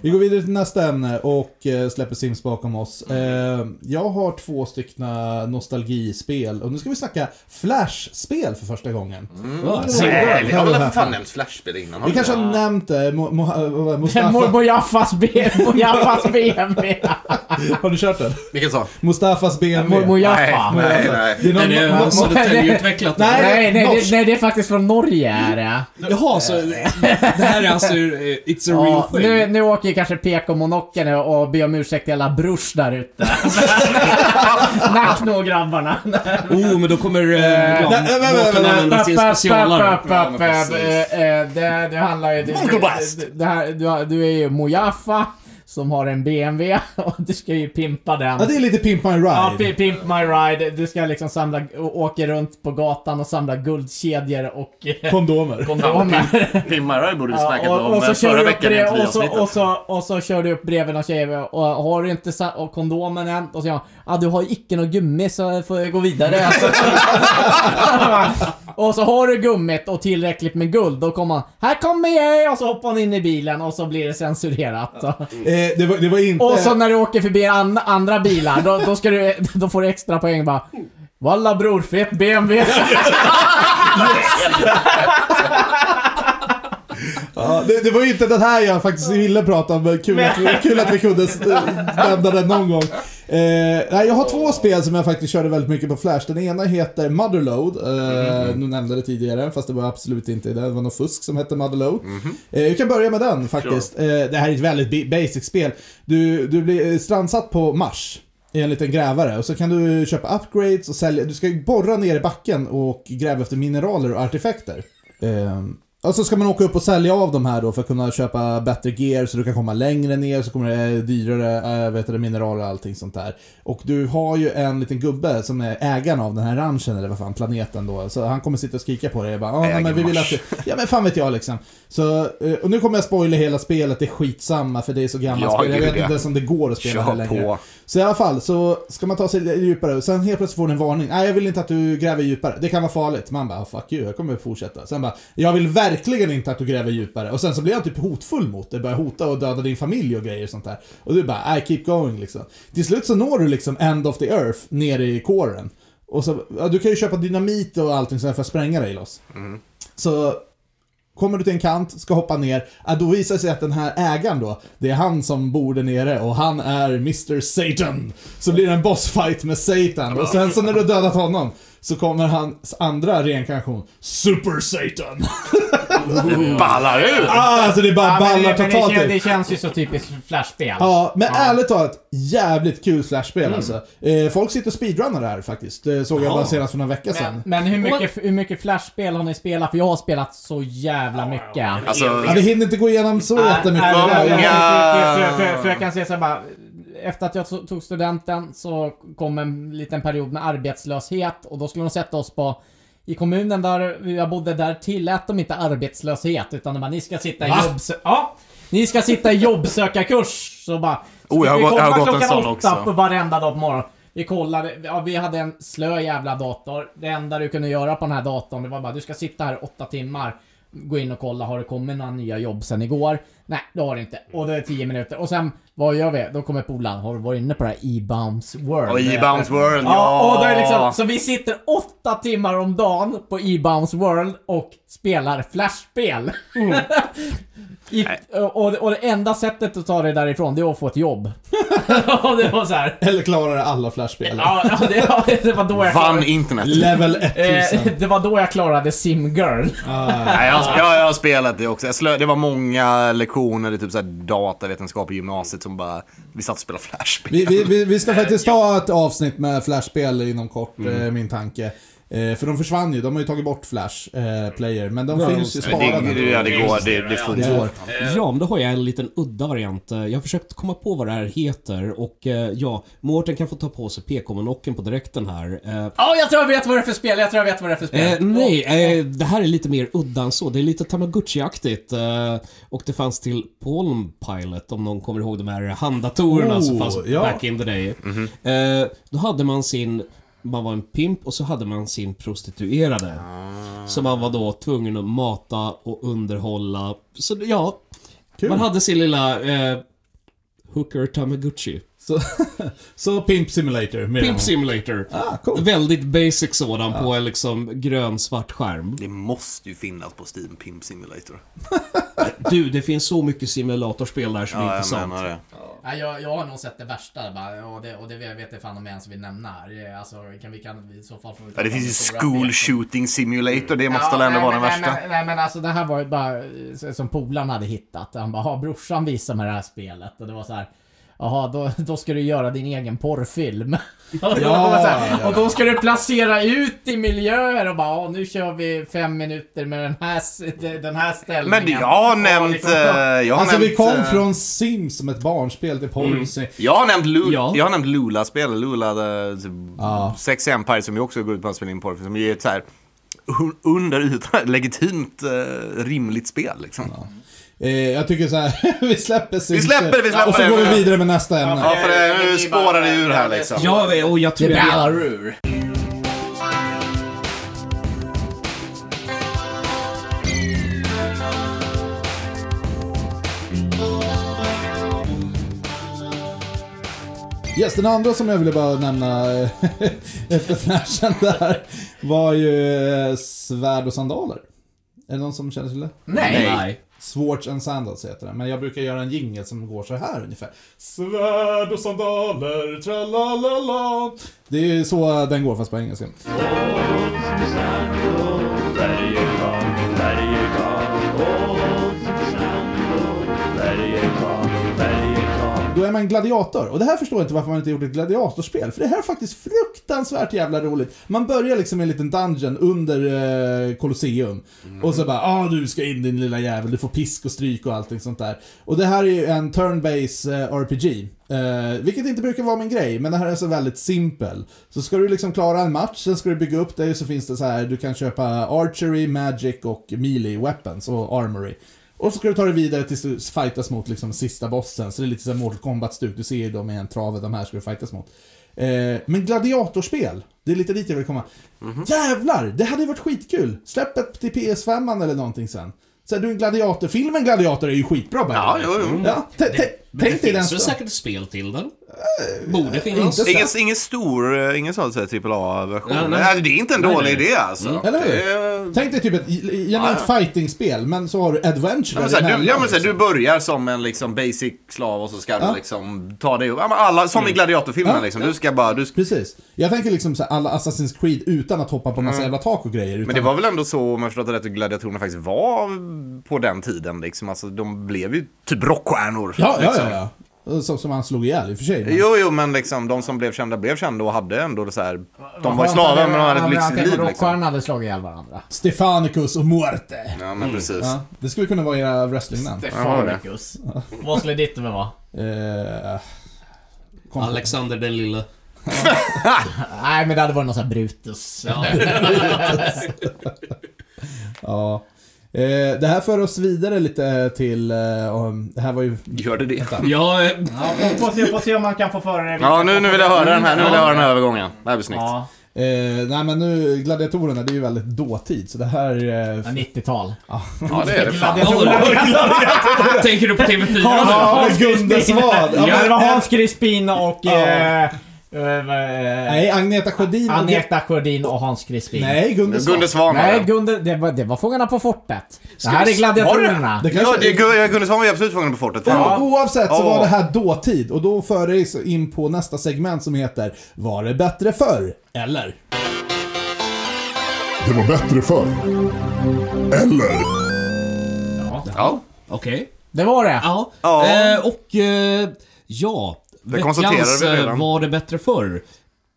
A: Vi går vidare till nästa ämne och eh, släpper Sims bakom oss.
C: Mm.
A: Eh, Jag har två stycken nostalgispel och nu ska vi snacka Flash-spel för första gången.
C: Mm.
B: Nej,
A: Så-
B: vi har väl för fan nämnt flashspel innan? har
A: Vi kanske
B: det?
A: har nämnt det, Mo- Mo- eh,
D: Mor
A: Mustafa.
D: Mojafas B- Mojafas BMW.
A: Har du kört den?
B: Vilken sa?
A: Mustafas
D: Mor
A: BMW.
D: Mojafa.
B: Nej, nej,
A: Det
B: nej.
A: är någon-
C: det
A: någon-
C: är alltså Södertäljeutvecklat?
A: Nej.
D: Nej, nej,
A: Norsk.
D: det, nej, det är faktiskt från Norge är det.
C: Jaha, så det här är alltså... eh, It's a real
D: Ja,
C: thing?
D: nu, nu åker ju kanske PK-monocken och och ber om ursäkt till alla brors där ute. Nack nå grabbarna.
C: Oh, men då kommer eh,
A: nej, nej, nej,
C: reklammakarna
A: nej.
C: använda sin specialare.
D: Upp, upp, upp, upp,
B: Ja, men precis.
D: eh, eh, Det, det handlar ju... Det,
B: Mongolbast.
D: det- det här, du, har- du är ju Mojaffa som har en BMW och du ska ju pimpa den.
A: Ja, det är lite Pimp My
D: Ja, pi-
A: Ride.
D: Pimp My Ride. Du ska liksom samla, å- åka runt på gatan och samla guldkedjor och eh,
A: Kondomer.
D: kondomer.
B: Pimmare borde vi snackat
D: Ja,
B: om eh,
D: kör
B: förra
D: du upp
B: veckan i
D: brev- och, så, och,
B: intervjuavsnittet.
D: så, och så kör du upp bredvid någon tjej och och har du inte sa- och kondomen än? Och så ja, ah, du har ju icke något gummi så får jag gå vidare. Alltså. och så har du gummit och tillräckligt med guld, då kommer han Här kommer jag! Och så hoppar hon in i bilen och så blir det censurerat.
A: Eh, det, var, det var inte...
D: Och så när du åker förbi an, andra bilar, då, då, ska du, då får du extra poäng bara. Walla bror, fet BMW!
A: Ja, det, det var ju inte den här jag faktiskt ville prata om, men kul att, kul att vi kunde s- nämna den någon gång. Eh, nej, jag har två spel som jag faktiskt körde väldigt mycket på Flash. Den ena heter Motherload. Eh, Nu nämnde jag det tidigare, fast det var absolut inte det. Det var något fusk som hette Motherload. Eh, vi kan börja med den faktiskt. Eh, det här är ett väldigt bi- basic spel. Du, du blir eh, strandsatt på Mars i en liten grävare och så kan du köpa upgrades och sälja. Du ska ju borra ner i backen och gräva efter mineraler och artefakter. Ehm, och så ska man åka upp och sälja av de här då för att kunna köpa bättre gear så du kan komma längre ner så kommer det dyrare äh, vet du, mineraler och allting sånt där. Och du har ju en liten gubbe som är ägaren av den här ranchen eller vad fan planeten då. Så han kommer sitta och skrika på dig och bara "Ah, nej,
B: Äger
A: men vi vill att
B: Mars."
A: du... Ja men fan vet jag liksom. Så, eh, och nu kommer jag spoila hela spelet, det är skitsamma för det är så gammalt
B: Ja,
A: spel. Jag
B: gud,
A: vet
B: ja.
A: inte ens om det går att spela det
B: Kör
A: längre.
B: på.
A: Så i alla fall så ska man ta sig lite djupare och sen helt plötsligt får du en varning. Nej, jag vill inte att du gräver djupare. Det kan vara farligt. Man bara, fuck you, jag kommer fortsätta. Sen bara, jag vill verkligen inte att du gräver djupare. Och sen så blir han typ hotfull mot dig. Börjar hota och döda din familj och grejer och sånt där. Och du bara, nej, keep going liksom. Till slut så når du liksom end of the earth nere i kåren. Och så, ja, du kan ju köpa dynamit och allting sånt där för att spränga dig loss.
B: Mm.
A: Så Kommer du till en kant, ska hoppa ner, ja, då visar det sig att den här ägaren då, det är han som bor där nere och han är Mr Satan. Så blir det en bossfight med Satan och sen så när du har dödat honom så kommer hans andra reinkarnation, Super Satan.
B: Mm. Ballar ur!
A: Ah, alltså det bara
D: men
A: ballar
D: det, men det,
A: totalt
D: kän-
A: ur.
D: det känns ju så typiskt flashspel.
A: Ja, men ärligt talat, jävligt kul flashspel
D: Mm.
A: alltså. Eh, folk sitter och speedrunnar det här faktiskt. Det såg jag bara senast för några veckor sedan.
D: Men, men hur mycket, hur mycket flashspel har ni spelat? För jag har spelat så jävla mycket.
B: Alltså,
A: Ja, vi hinner inte gå igenom så jättemycket.
D: Nej, nej,
B: Många-
D: nej, för- för- för- för- För jag kan säga så här bara. Efter att jag to- tog studenten så kom en liten period med arbetslöshet och då skulle de sätta oss på i kommunen där jag bodde där tillät de inte arbetslöshet utan de bara ni ska sitta i jobbsö- ja, ni ska sitta i jobbsökarkurs. Så bara... så
B: Oh, jag har
D: vi
B: gått- jag har
D: komma
B: gått en
D: klockan
B: sån
D: åtta
B: också.
D: på varenda dag på morgonen. Vi kollade, ja, vi hade en slö jävla dator. Det enda du kunde göra på den här datorn det var bara du ska sitta här åtta timmar. Gå in och kolla, har det kommit några nya jobb sen igår? Nej, det har det inte. Och det är tio minuter. Och sen, vad gör vi? Då kommer polaren, har du varit inne på det här E-Bounce World?
B: och E-Bounce World,
D: Ja, och då är det liksom,
B: ja!
D: så vi sitter åtta timmar om dagen på E-Bounce World och spelar flashspel. I, och, och det enda sättet att ta dig därifrån, det är att få ett jobb. och det var så här.
A: Eller klarar alla flashspel.
D: Ja, ja, det, ja, det var då jag
B: Vann
D: klarade,
B: internet.
A: Level
D: eh,
A: 1000.
D: det var då jag klarade Simgirl.
B: Nej, jag, jag, jag har spelat det också. Jag slö, det var många lektioner i typ så här datavetenskap i gymnasiet som bara, vi satt och spelade flashspel.
A: Vi, vi, vi, vi ska faktiskt ta ett avsnitt med flashspel inom kort,
B: Mm.
A: eh, min tanke. Eh, för de försvann ju, de har ju tagit bort Flash eh, Player, men de finns ju
B: Men det,
A: sparade.
B: det, ja, det går, det, det
A: Det
B: funkar.
A: går.
C: Ja, men då har jag en liten udda variant. Eh, Jag har försökt komma på vad det här heter och eh, ja, Mårten kan få ta på sig PK-monocken på direkten här. Eh,
D: Ja, jag tror jag vet vad det är för spel, jag tror jag vet vad det är för spel.
C: Eh, nej, eh, det här är lite mer udda än så. Det är lite Tamagotchi-aktigt. Eh, och det fanns till Palm Pilot, om någon kommer ihåg de här handdatorerna som
A: Oh,
C: fanns
A: ja. Mhm.
C: back in the day. Eh, då hade man sin... Man var en pimp och så hade man sin prostituerade.
A: Ah.
C: Som man var då tvungen att mata och underhålla. Så ja, man hade sin lilla eh, Hooker Tamaguchi.
A: Så, så Pimp Simulator. mer
C: Pimp
A: än-
C: Simulator.
A: Ah, cool.
C: Väldigt basic sådan på en liksom grön-svart skärm.
B: Det måste ju finnas på Steam Pimp Simulator.
C: Du, det finns så mycket simulatorspel där som är
B: Ja, jag
C: intressant.
B: menar det.
D: Ja, jag, jag har nog sett det värsta bara, och det, och det vet jag fan om jag ens vill nämna här. Det är, Alltså, kan vi kan i så fall få
B: Ja, det finns ju
D: stora
B: School
D: fel.
B: Shooting Simulator, det måste
D: Ja,
B: väl ändå
D: nej,
B: vara den
D: men-
B: värsta.
D: Nej, men- nej men alltså det här var ju bara eh, så- som polaren hade hittat. Han bara, "Ha, brorsan visade mig det här spelet. Och det var så här. Jaha, då, då ska du göra din egen porrfilm. och, då var det så här, och då ska du placera ut i miljöer och bara, "Ja, nu kör vi fem minuter med den här, s- den här ställningen.
B: Men jag har
D: Och
B: nämnt...
D: liksom-
B: eh, Jag har
A: Alltså
B: nämnt,
A: vi kom
B: eh, Mm.
A: från Sims som ett barnspel till Policy.
B: Jag har nämnt, Lu-
C: Ja.
B: jag har nämnt Lula-spel, Lula the, Sex Empire som ju också går ut på att spela in porr, som ju är ett så här un- under ytan legitimt eh, rimligt spel liksom.
A: Eh, jag tycker så här, vi släpper Sims.
B: släpper det, vi släpper
A: Och så
B: det.
A: går vi vidare med nästa ämne.
B: Ja, för det, nu spårar det ur här liksom.
C: Ja, och jag tror
D: Det ballar
C: jag...
D: ur.
A: Yes, den andra som jag ville bara nämna eh, efter flashen där var ju eh, svärd och sandaler. Är det någon som känner till det?
D: Nej.
C: Nej.
A: Swords and Sandals heter den, men jag brukar göra en jingle som går så här ungefär. Svärd och sandaler, tralalala. Det är ju så den går fast på engelska. Då är man gladiator. Och det här förstår jag inte varför man inte gjort ett gladiatorspel. För det här är faktiskt fruktansvärt jävla roligt. Man börjar liksom i en liten dungeon under eh, Colosseum. Och så bara ah du ska in din lilla jävel, du får pisk och stryk och allting sånt där. Och det här är ju en turn-based eh, RPG. Eh, vilket inte brukar vara min grej, men det här är så väldigt simpel. Så ska du liksom klara en match, sen ska du bygga upp dig så finns det så här, du kan köpa archery, magic och melee weapons och armory. Och så ska du ta dig vidare tills du fightas mot liksom sista bossen, så det är lite som Mortal Kombat-stuk. Du ser ju dem i en trave, de här ska du fightas mot. Eh, men gladiatorspel, det är lite dit jag vill komma.
B: Mhm.
A: Jävlar, det hade ju varit skitkul! Släpp ett till PS5 eller någonting sen. Så här, du, en gladiator, filmen Gladiator är ju skitbra by the
B: Ja,
A: way.
B: jo, jo.
A: Ja, t- t-
C: Men det
A: Tänk dig den
C: finns väl säkert ett spel till den? Borde finnas.
A: inte-
B: Ingen, ingen stor, eh, ingen sån här AAA-version.
C: Nej,
B: Nej,
C: nej.
B: Det är inte en
C: Nej,
B: dålig
C: nej.
B: idé alltså.
A: Eller hur?
B: Det är-
A: Tänk dig typ ett genuint fighting-spel, men så har du adventure
B: Ja, men såhär, du,
A: däremellan,
B: ja, men såhär, du
A: liksom.
B: börjar som en liksom basic slav och så ska du liksom ta dig upp. Ja, men alla, som i
C: Mm.
B: gladiatorfilmen
A: Ja.
B: liksom. Du ska bara, du ska,
A: Precis. Jag tänker liksom såhär, alla Assassin's Creed utan att hoppa på massa jävla tak och grejer. Utan
B: Mm. men det var väl ändå så, om jag förstått det rätt, hur gladiatorerna faktiskt var på den tiden liksom. Alltså de blev ju typ rockstjärnor.
A: Ja, ja,
B: liksom.
A: ja. ja. Som, som han slog ihjäl i och för sig. men-
B: Jo, jo, men liksom de som blev kända blev kända och hade ändå så här. De var ju
D: Vad skönt
B: slavar
D: att-
B: men de hade ett
D: att- att
B: lyxigt liv liksom.
D: Rockstjärnorna hade slagit ihjäl varandra.
A: Stefanicus och Muerte.
B: Ja, men precis.
A: Mm. Ja, det skulle kunna vara era wrestlingnamn.
D: Stefanicus. Vad skulle ditt med vara?
A: Eh, kom på.
C: Alexander den lille.
D: Nej men det hade varit någon sån här Brutus.
A: Ja. Eh, det här för oss vidare lite till... Eh, om- det här var ju...
B: Gör det det?
C: Ja, eh,
D: Får se, får se om man kan få föra det
B: Ja, nu, nu vill jag höra den här, nu vill jag höra den här övergången. Det här blir snyggt.
D: Ja,
A: Eh, nej men nu, gladiatorerna, det är ju väldigt dåtid, så det här... Eh, f-
D: 90-tal.
B: Ja, det är det fan.
C: tänker du på TV4?
A: Ja, men Gunde Svan! Ja,
D: Ja,
A: men-
D: det var Hans Crispin och...
A: Ja.
D: eh, eh, eh,
A: Nej, Agneta Sjödin och-
D: Agneta Sjödin och Hans Crispin.
A: Nej, Gunde Svan.
B: Gunde Svan var
D: Nej,
B: det.
D: Gunde, det var, det var Fångarna på fortet. Det här är Gladiatorerna.
A: Det
B: Ja,
A: kanske-
B: det, Gu- Gunde Svan var ju absolut fången på fortet. Fan.
A: O- Oavsett så
B: Ja.
A: var det här dåtid och då för dig så in på nästa segment som heter Var det bättre förr? Eller?
I: Det var bättre förr. Eller?
B: Ja.
C: Okej.
D: Det var det.
C: Ja.
B: Ja.
C: Eh, och eh, ja. Det
B: konstaterade vi redan.
C: Var det bättre förr?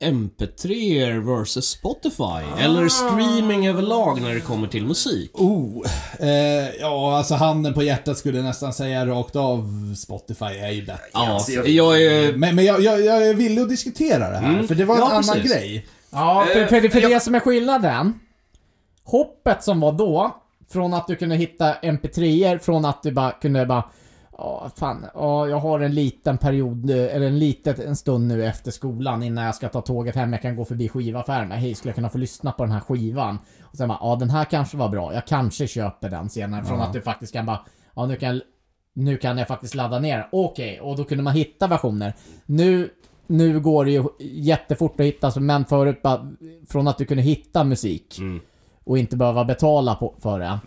C: MP3 versus Spotify. Eller streaming överlag när det kommer till musik.
A: Oh, eh, ja alltså handen på hjärtat skulle jag nästan säga rakt av Spotify är ju bättre.
C: Ja, jag är...
A: Men, men jag, jag, jag är villig att diskutera det här, för det var en
C: Mm. Ja,
A: annan
C: precis.
A: grej.
D: Ja, för, för, för det som är skillnaden. Hoppet som var då, från att du kunde hitta mp 3 från att du bara kunde bara Ja, fan. Ja, jag har en liten period, eh, eller en litet, en stund nu efter skolan innan jag ska ta tåget hem. Jag kan gå förbi skivaffären. Hej, skulle jag kunna få lyssna på den här skivan? Och sen bara, ja den här kanske var bra. Jag kanske köper den senare. Från
L: Ja.
D: att du faktiskt kan bara, ja nu kan, nu kan jag faktiskt ladda ner. Okej, och då kunde man hitta versioner. Nu, nu går det ju jättefort att hitta, så- men förut bara, från att du kunde hitta musik och inte behöva betala på, för det.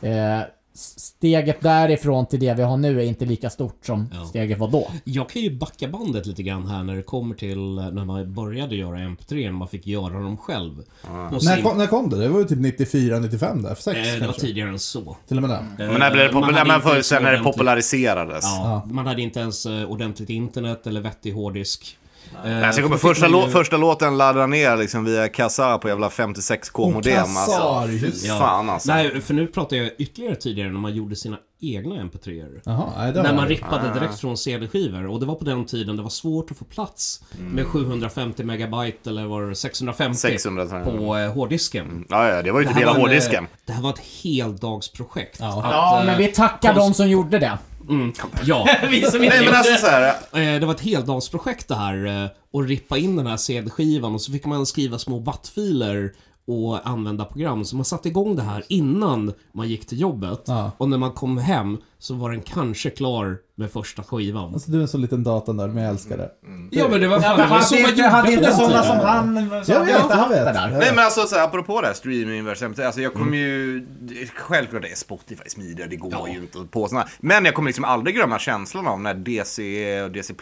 D: Eh, s- steget därifrån till det vi har nu är inte lika stort som steget var då.
C: Jag kan ju backa bandet lite grann här när det kommer till när man började göra MP3, när man fick göra dem själv.
B: Ah.
C: På sin-
A: När kom, när kom det? Det var ju typ 94, 95 där. 6
C: Eh, det var
A: kanske.
C: tidigare än så.
A: Till och med det.
C: Eh,
B: Men när blev det
C: man
B: popul-
C: hade
B: men
C: inte
B: förr,
C: ens
B: sen när det
C: ordentligt-
B: populariserades.
C: Ja, Man hade inte ens eh, ordentligt internet eller vettig hårddisk. Eh,
B: Alltså, jag kommer,
C: då fick
B: första,
C: man
B: lå- första låten laddade ner liksom via kassar på jävla 56k-modem.
C: Åh, kassar,
B: alltså.
C: just det.
B: Fan alltså.
C: Nej, för nu pratar jag ytterligare tidigare när man gjorde sina egna MP3-er.
A: Jaha, nej, det
C: När
A: har
C: man
A: jag.
C: rippade
A: Ah.
C: direkt från CD-skivor. Och det var på den tiden det var svårt att få plats
B: Mm.
C: med 750 megabyte eller var det 650 på eh, hårddisken.
B: Ja, ja, det var ju typ
C: här
B: hela
C: var en,
B: hårddisken.
C: eh, Det här var ett heldagsprojekt. Ja,
D: Ja,
C: eh,
D: men vi tackar dem som gjorde det.
C: Mm, ja.
D: Vi som inte Nej, men gjorde alltså det. så
C: Eh, Det var ett heldagsprojekt det här. eh, Och rippa in den här CD-skivan och så fick man skriva små wattfiler och använda program. Så man satte igång det här innan man gick till jobbet. Och när man kom hem så var den kanske klar med första skivan.
A: Alltså du är en så liten datanörd, men jag älskar det.
C: Ja, men det var fan-
D: Ja, men
C: var så
D: hade
C: man
D: inte-
C: gjorde
D: hade
C: på
D: inte
C: den
D: sådana
C: tiden.
D: som han- som
A: Jag vet, han vet.
B: Nej men alltså så här, apropå det här streamingverksamheten, alltså jag kommer ju, självklart det är Spotify smidigare, det går ju inte att på sådana Men jag kommer liksom aldrig glömma känslan av när DC och DC++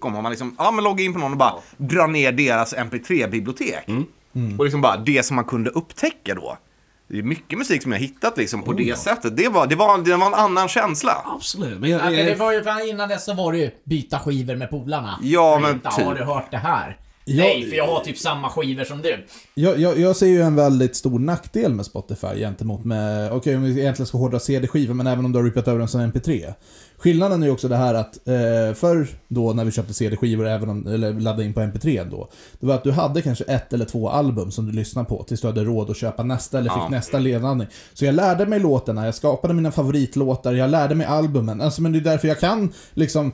B: kom, och man liksom, ja men logga in på någon och bara dra ner deras MP3-bibliotek. Och liksom bara det som man kunde upptäcka då. Det är mycket musik som jag hittat liksom på
C: Oh,
B: det
C: ja.
B: sättet. Det var, det, var, det var en annan känsla.
C: Absolut. Men jag,
D: Ja, men det
C: jag,
D: var ju, fan, innan dess så var det ju byta skivor med polarna.
B: Ja,
D: Vänta,
B: men typ.
D: Har du hört det här?
A: Ja.
D: Nej, för jag har typ samma skivor som du.
A: Jag, jag, jag ser ju en väldigt stor nackdel med Spotify gentemot med, okej om vi egentligen ska hårdra CD-skivor, men även om du har rippat över den som MP3. Skillnaden är ju också det här att eh, förr då när vi köpte CD-skivor, även om, eller laddade in på MP3 då, det var att du hade kanske ett eller två album som du lyssnade på tills du hade råd att köpa nästa eller fick
B: Ja.
A: nästa ledande. Så jag lärde mig låtarna, jag skapade mina favoritlåtar, jag lärde mig albumen. Alltså men det är därför jag kan liksom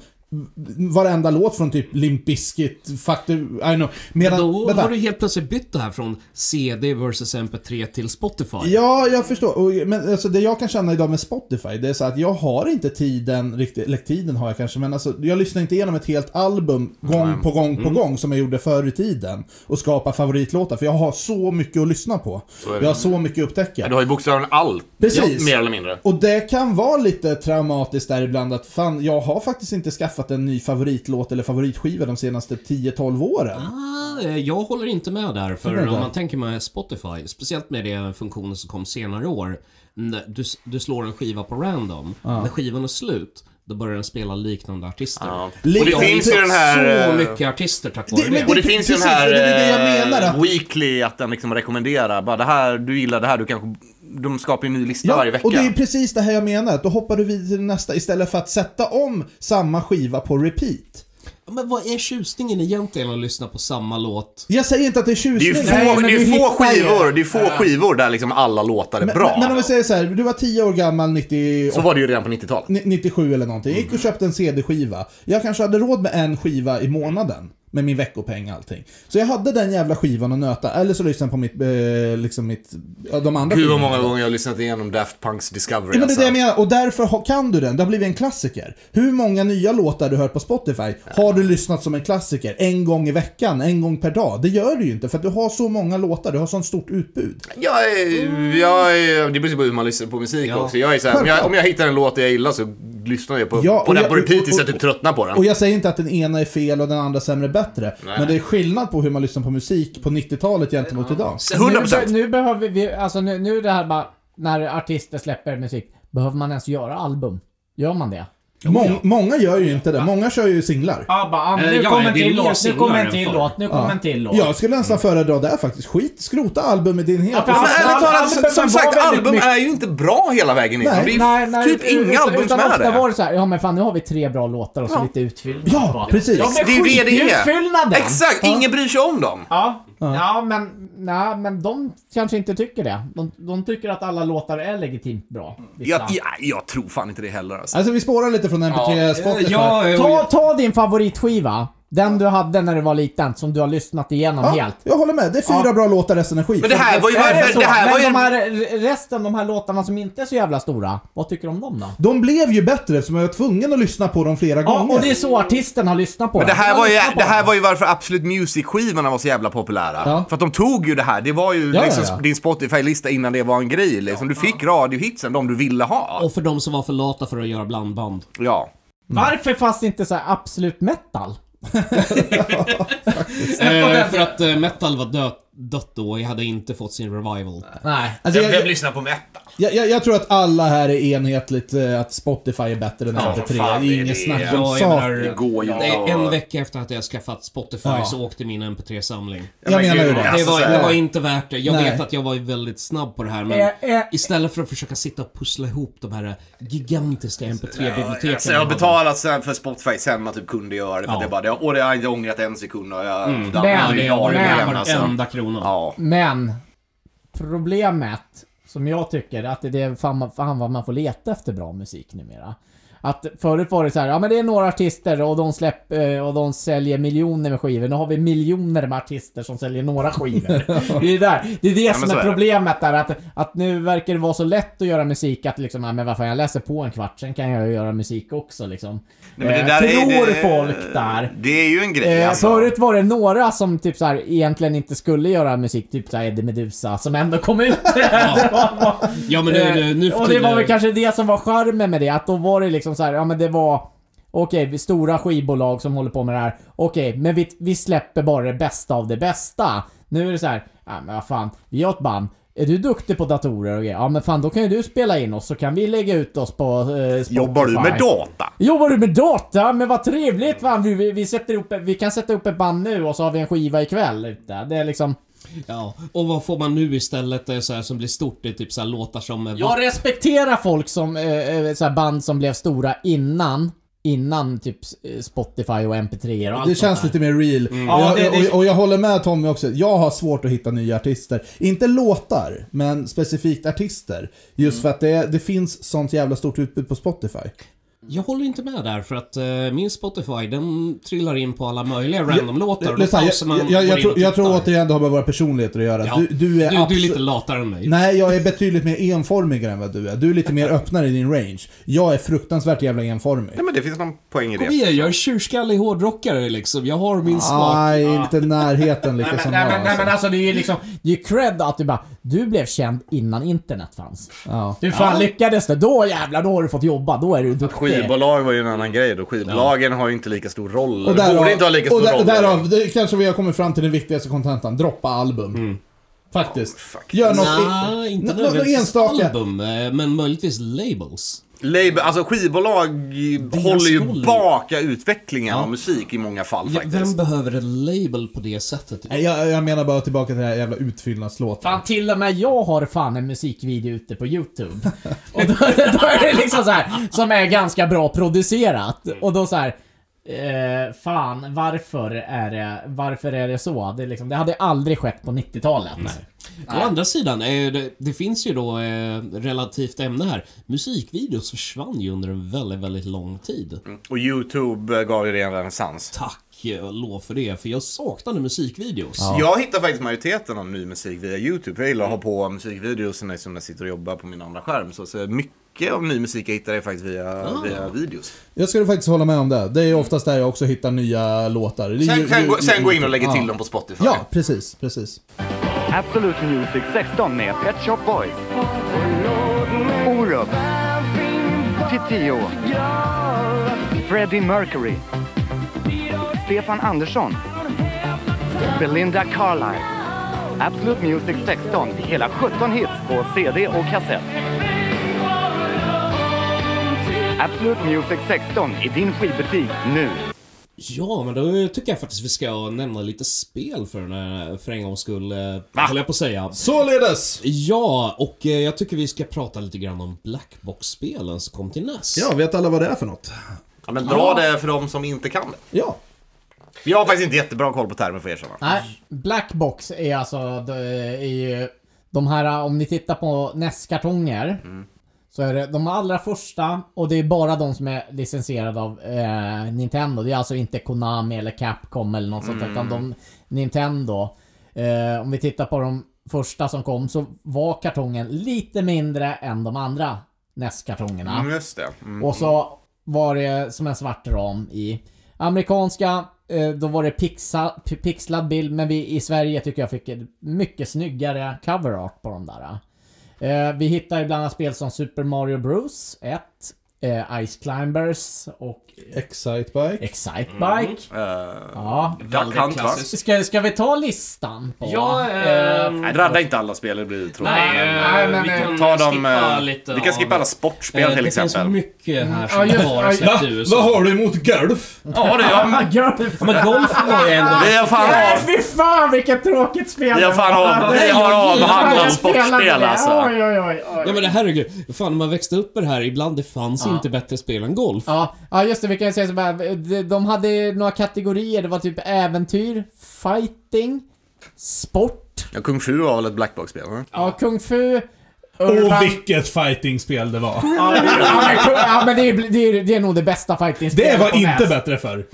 A: varenda låt från typ Limp Bizkit, Factor, I know. Medan,
C: då
A: vänta.
C: har du helt plötsligt bytt det här från CD versus MP3 till Spotify.
A: Ja, jag förstår. Och, men alltså, det jag kan känna idag med Spotify, det är så att jag har inte tiden riktigt, eller tiden har jag kanske, men alltså, jag lyssnar inte igenom ett helt album gång
B: Nej.
A: på gång på
B: Mm.
A: gång som jag gjorde förr i tiden och skapar favoritlåtar, för jag har så mycket att lyssna på.
B: Så är det.
A: Jag har så mycket att upptäcka.
B: Du har ju bokstavligen allt,
A: Precis.
B: mer eller mindre.
A: Och det kan vara lite traumatiskt där ibland att fan, jag har faktiskt inte skaffat en ny favoritlåt eller favoritskiva de senaste 10-12 åren.
C: Ah, eh, Jag håller inte med där,
A: Håller du
C: för
A: med
C: om
A: där?
C: man tänker med Spotify, speciellt med den funktionen som kom senare i år. när Du, s- du slår en skiva på random,
A: Ja.
C: när skivan är slut, då börjar den spela liknande artister.
B: Ja. Och
A: det
C: Jag har
B: finns ju
C: hittat
B: den här,
C: Så
B: eh,
C: mycket artister tack vare det.
B: och det finns ju den här
A: det är det jag
B: eh,
A: menar, att-
B: Weekly, att den liksom rekommenderar. Bara det här, du gillar det här, du kanske... De skapar ju en ny lista varje vecka.
A: Och det är precis det här jag menar, att då hoppar du vidare till nästa istället för att sätta om samma skiva på repeat.
C: Men vad är tjusningen egentligen att lyssna på samma låt?
A: Jag säger inte att det är
B: Det är ju
A: tjusning.
B: få, det är ju få skivor, det är få skivor där liksom alla låtar är
A: Men,
B: bra.
A: men, men om vi säger så här, du var 10 år gammal 90,
B: så var det ju redan på 90-talet.
A: ni- 97 eller någonting. Jag gick och köpte en CD-skiva. Jag kanske hade råd med en skiva i månaden. Med min veckopeng och allting. Så jag hade den jävla skivan att nöta. Eller så lyssnade jag på mitt, eh, liksom mitt, ja, de andra
B: Gud vad
A: skivorna.
B: många gånger jag har lyssnat igenom Daft Punks Discovery.
A: Ja, men det är
B: alltså.
A: det jag menar, och därför har- kan du den. Det har blivit en klassiker. Hur många nya låtar du hört på Spotify har du lyssnat som en klassiker? En gång i veckan, en gång per dag. Det gör du ju inte, för att du har så många låtar, du har sånt stort utbud.
B: Jag är, jag är, det beror på hur man lyssnar på musik också. Jag är så här, om, jag, om jag hittar en låt jag gillar så lyssnar jag på,
A: Ja,
B: på
A: och
B: den
A: jag-
B: på repeat tills
A: och-
B: jag typ tröttnar på den.
A: Och jag säger inte att den ena är fel och den andra sämre bättre,
B: Nej.
A: men det är skillnad på hur man lyssnar på musik på 90-talet gentemot idag.
D: Nu, nu behöver vi, alltså nu, nu är det här bara, när artister släpper musik, behöver man ens göra album? Gör man det?
A: Mång, många gör ju inte det, många kör ju singlar.
D: Ja, bara, ah, nu
C: Eh, ja,
D: kommer
C: ja,
D: en
C: det är
D: till
C: mer
D: låt, nu
C: singlar
D: kommer en
C: än
D: till
C: förr.
D: låt, nu kommer
A: Ja.
D: en till låt.
A: Jag skulle nästan föredra det här faktiskt. Skit, skrota albumet din helt.
D: Ja,
B: Mm.
A: Och
B: Ja, men
A: så-
B: ärligt talat, som, som
D: albumen
B: sagt,
D: var väldigt
B: album
D: mycket-
B: är ju inte bra hela vägen in. Det är ju typ inga
D: utan,
B: album som
D: utan
B: är
D: ofta
B: det.
D: var det så här, ja men fan nu har vi tre bra låtar och så lite utfyllnad.
A: Ja,
D: bara.
A: precis.
D: Ja, men
B: Det är ju det det är.
D: skitutfyllnaden!
B: Exakt,
D: Ja.
B: ingen bryr sig om dem.
D: Ja, ja. men, nej, men de kanske inte tycker det. De, de tycker att alla låtar är legitimt bra.
B: Jag, jag, jag tror fan inte det heller alltså.
A: Alltså vi spårar lite från MP3-Spotify.
D: Ja, ta, ta din favoritskiva. Den du hade när du var liten, som du har lyssnat igenom
A: Ja,
D: helt.
A: Jag håller med, det är fyra bra låtar, resten är skit.
B: Men det här var ju-
D: Är
B: varför-
D: så?
B: det här
D: Men
B: var ju-
D: de här, resten, de här låtarna som inte är så jävla stora, vad tycker du om dem då?
A: De blev ju bättre eftersom jag var tvungen att lyssna på dem flera
D: Ja,
A: gånger.
D: Mm. och det är så artisten har lyssnat på
B: Men det
D: den.
B: här,
D: Den
B: var ju,
D: lyssnar på
B: det
D: den.
B: här var ju varför Absolute Music-skivorna var så jävla populära. För att de tog ju det här. Det var ju
C: Ja, ja,
B: liksom
C: ja.
B: din Spotify-lista innan det var en grej. Liksom. Du fick radiohitsen, de du ville ha.
C: Och för de som var för lata för att göra blandband.
B: Ja.
D: Varför fanns det inte så här absolut metal?
C: Eh, för att eh, metal var dött, dött då, jag hade inte fått sin revival.
D: Nej.
A: Alltså, jag-
L: Vem
A: jag-
L: lyssnar på metal?
A: Jag, jag, jag tror att alla här är enhetligt eh, att Spotify är bättre än
C: Ja,
A: MP3.
C: fan,
A: det
C: det
A: är
C: är
A: inget
C: det.
A: snack om
C: Ja, jag menar,
A: saken.
C: det går ju
A: inte
C: det,
A: att-
C: En vecka efter att jag skaffat Spotify
A: Ja.
C: så åkte min MP3-samling.
A: Jag Ja, men menar ju gud, det.
C: Det
A: alltså,
C: var,
A: så här-
C: det var inte värt det. Jag
A: Nej.
C: vet att jag var ju väldigt snabb på det här men
A: Eh,
C: istället för att försöka sitta och pussla ihop de här gigantiska MP3-biblioteken.
B: Alltså jag har betalat sen för Spotify sen man typ kunde göra det. För att det bara, det, och det har jag inte ångrat en sekund. Och jag,
C: Mm.
B: det-
C: Men-
B: jag- jag-
C: men-
B: jag- jag- alltså.
C: varenda krona.
B: Ja.
D: Men problemet som jag tycker att det är fan, fan vad man får leta efter bra musik numera. Att förut var det så här, ja men det är några artister och de släpp, eh, och de säljer miljoner med skivor. Nu har vi miljoner med artister som säljer några skivor. det är där. Det är det
A: Ja, men
D: som
A: så är
D: är
A: det.
D: problemet där att, att nu verkar det vara så lätt att göra musik att liksom, ja, men vad fan jag läser på en kvart, sen kan jag ju göra musik också liksom.
B: Nej, men det
D: Eh,
B: där är-
D: tror
B: det-
D: folk där.
B: Det är ju en grej
D: Eh,
B: alltså.
D: Förut var det några som typ så här, egentligen inte skulle göra musik, typ så här Eddie Meduza, som ändå kom ut.
C: Ja men nu, nu, nu
D: Eh, och det var väl kanske det som var charmen med det, att då var det liksom så här, ja men det var Okej, vi- stora skivbolag som håller på med det här. Okej, men vi, vi släpper bara det bästa av det bästa. Nu är det så här, ja men vad fan, vi har ett band. Är du duktig på datorer och grejer? Ja men fan, då kan ju du spela in oss så kan vi lägga ut oss på eh, Spotify.
B: Jobbar du med data?
D: Jobbar du med data? Men vad trevligt va! Vi, vi, vi, sätter upp, vi kan sätta upp ett band nu och så har vi en skiva ikväll ute. Det är liksom...
C: Ja, och vad får man nu istället eh, så här, som blir stort? Det är typ så här, låtar som... eh,
D: Jag respekterar folk som, eh, eh, så här band som blev stora innan. Innan typ eh, Spotify och MP3 och allt
A: Det
D: sånt
A: känns
D: där.
A: lite mer real.
C: Mm.
A: Och,
D: Ja,
A: jag,
D: det- det-
A: och, och jag håller med Tommy också. Jag har svårt att hitta nya artister. Inte låtar, men specifikt artister.
C: Mm.
A: Just för att det, det finns sånt jävla stort utbud på Spotify.
C: Jag håller inte med där för att eh, min Spotify den trillar in på alla möjliga random-låtar och då
A: Lyssna,
C: pausar man
A: jag, jag,
C: går
A: jag,
C: in
A: tror,
C: och
A: jag
C: tittar.
A: tror återigen det har med våra personligheter att göra.
C: Ja.
A: Du, du är
C: Du- du är
A: abso-
C: lite latare än mig.
A: Nej, jag är betydligt mer enformigare än vad du är. Du är lite mer öppnare i din range. Jag är fruktansvärt jävla enformig.
B: Nej men det finns någon poäng i det.
C: Kom igen, jag är tjurskallig hårdrockare liksom. Jag har min smak.
A: Nej, inte närheten lika som
D: Nej
A: jag.
D: men, nej, men
A: alltså.
D: alltså det är ju liksom, det är ju cred att du bara, du blev känd innan internet fanns.
A: Ja.
D: Du fan
B: Ja.
D: lyckades det, då jävlar, då har du fått jobba, då är du duktig.
B: Skivbolag var ju en annan grej då. Skivbolagen har ju inte lika stor roll.
A: Och
B: borde
A: därav,
B: inte ha lika stor
A: och där,
B: roll.
A: därav det, kanske vi har kommit fram till den viktigaste kontentan. Droppa album.
B: Mm.
A: Faktiskt. Gör något...
C: Nej,
A: nå-
C: inte
A: nå-
C: nödvändigtvis
A: enstaka.
C: album, eh, men möjligtvis labels.
B: Label, alltså skivbolag håller
C: roll.
B: ju baka utvecklingen av musik i många fall
C: Ja,
B: faktiskt.
C: vem behöver en label på det sättet?
A: Nej, jag, jag menar bara tillbaka till den här jävla utfyllnadslåten.
D: Fan till och med jag har fan en musikvideo ute på Youtube. Och då, då är det liksom så här som är ganska bra producerat. Och då så här. Eh, fan, varför är, det, varför är det så? Det, är liksom, det hade aldrig skett på 90-talet.
C: Å andra sidan, eh, det, det finns ju då eh, relativt ämne här. Musikvideos försvann ju under en väldigt, väldigt lång tid.
B: Och YouTube eh, gav ju det en renässans.
C: Tack eh, och lov för det, för jag saknade musikvideos.
B: Jag hittar faktiskt majoriteten av ny musik via YouTube. Jag gillar att ha på musikvideos när som jag sitter och jobbar på min andra skärm. Så, så mycket av ny musik jag hittar är faktiskt via, via videos.
A: Jag skulle faktiskt hålla med om det. Det är ju oftast där jag också hittar nya låtar. Det är
B: Sen,
A: ju-
B: sen,
A: ju-
B: gå- sen gå in och lägga till
A: Ja.
B: dem på Spotify.
A: Ja, precis, precis.
M: Absolut Music 16 med Pet Shop Boys. Orup. Titiyo. Freddie Mercury. Stefan Andersson. Belinda Carlisle. Absolut Music 16. Hela 17 hits på CD och kassett. Absolut Music 16 i din skivbutik nu.
C: Ja, men då tycker jag faktiskt vi ska nämna lite spel för, den här, för en gångs skull, eh, höll jag på att säga.
A: Således!
C: Ja, och eh, jag tycker vi ska prata lite grann om Blackbox-spelen som kom till E NES.
A: Ja, vet alla vad det är för något?
B: Ja, men dra det för de som inte kan det.
A: Ja.
B: Jag har faktiskt inte jättebra koll på termer för er sådana.
D: Nej, Blackbox är alltså, det är ju de här, om ni tittar på NES-kartonger. Så är det de allra första och det är bara de som är licensierade av eh, Nintendo. Det är alltså inte Konami eller Capcom eller något sånt
L: Mm.
D: utan de Nintendo. Eh, om vi tittar på de första som kom så var kartongen lite mindre än de andra NES-kartongerna.
B: Mm, just det. Mm.
D: Och så var det som en svart ram i. Amerikanska, eh, då var det pixa, p- pixlad bild, men vi i Sverige tycker jag fick en mycket snyggare cover art på de där. Eh, vi hittar ju bland annat spel som Super Mario Bros 1, eh, Ice Climbers och...
A: Excitebike.
D: Excitebike.
B: Mm. Eh.
D: ja.
B: Duck Hunt va?
D: Ska, ska vi ta listan? På?
L: Ja,
D: Eh,
B: Nej, radda inte alla spel, det blir tråkigt.
D: Nej,
B: Men,
D: nej,
B: eh,
D: nej,
B: vi
D: nej.
B: kan ta dem...
L: skippa
B: eh,
L: lite
B: Vi kan
L: av-
B: skippa alla sportspel
L: Eh,
B: till
L: det
B: exempel.
L: finns mycket här som
B: Ja, just-
L: bara
B: ja,
L: sett
B: ja.
L: ut.
A: Vad har du emot golf?
B: Ja, det är jag.
D: golf.
L: Men golf var ju ändå...
B: Vi har fan
D: Nej,
B: av-
D: fy fan vilket tråkigt spel!
B: Vi har fan av- vi har avhandlat sportspel, alltså.
D: Oj, oj, oj, oj.
C: Ja men herregud, fan när man växte upp med det här, ibland det fanns
D: Ja.
C: inte bättre spel än golf.
D: Ja, ja just det, vi kan ju säga så här. de- De hade några kategorier, det var typ äventyr, fighting, sport,
B: Ja, Kung Fu var väl ett blackbox-spel? va?
D: ja, kung fu,
A: Åh,
D: urban-
A: vilket fightingspel det var.
D: Ja, men- ja, men kung- Ja men det är, ju- det, är, ju- det är nog det bästa fightingspelet
A: Det var
D: på
A: inte
D: NES.
A: bättre förr.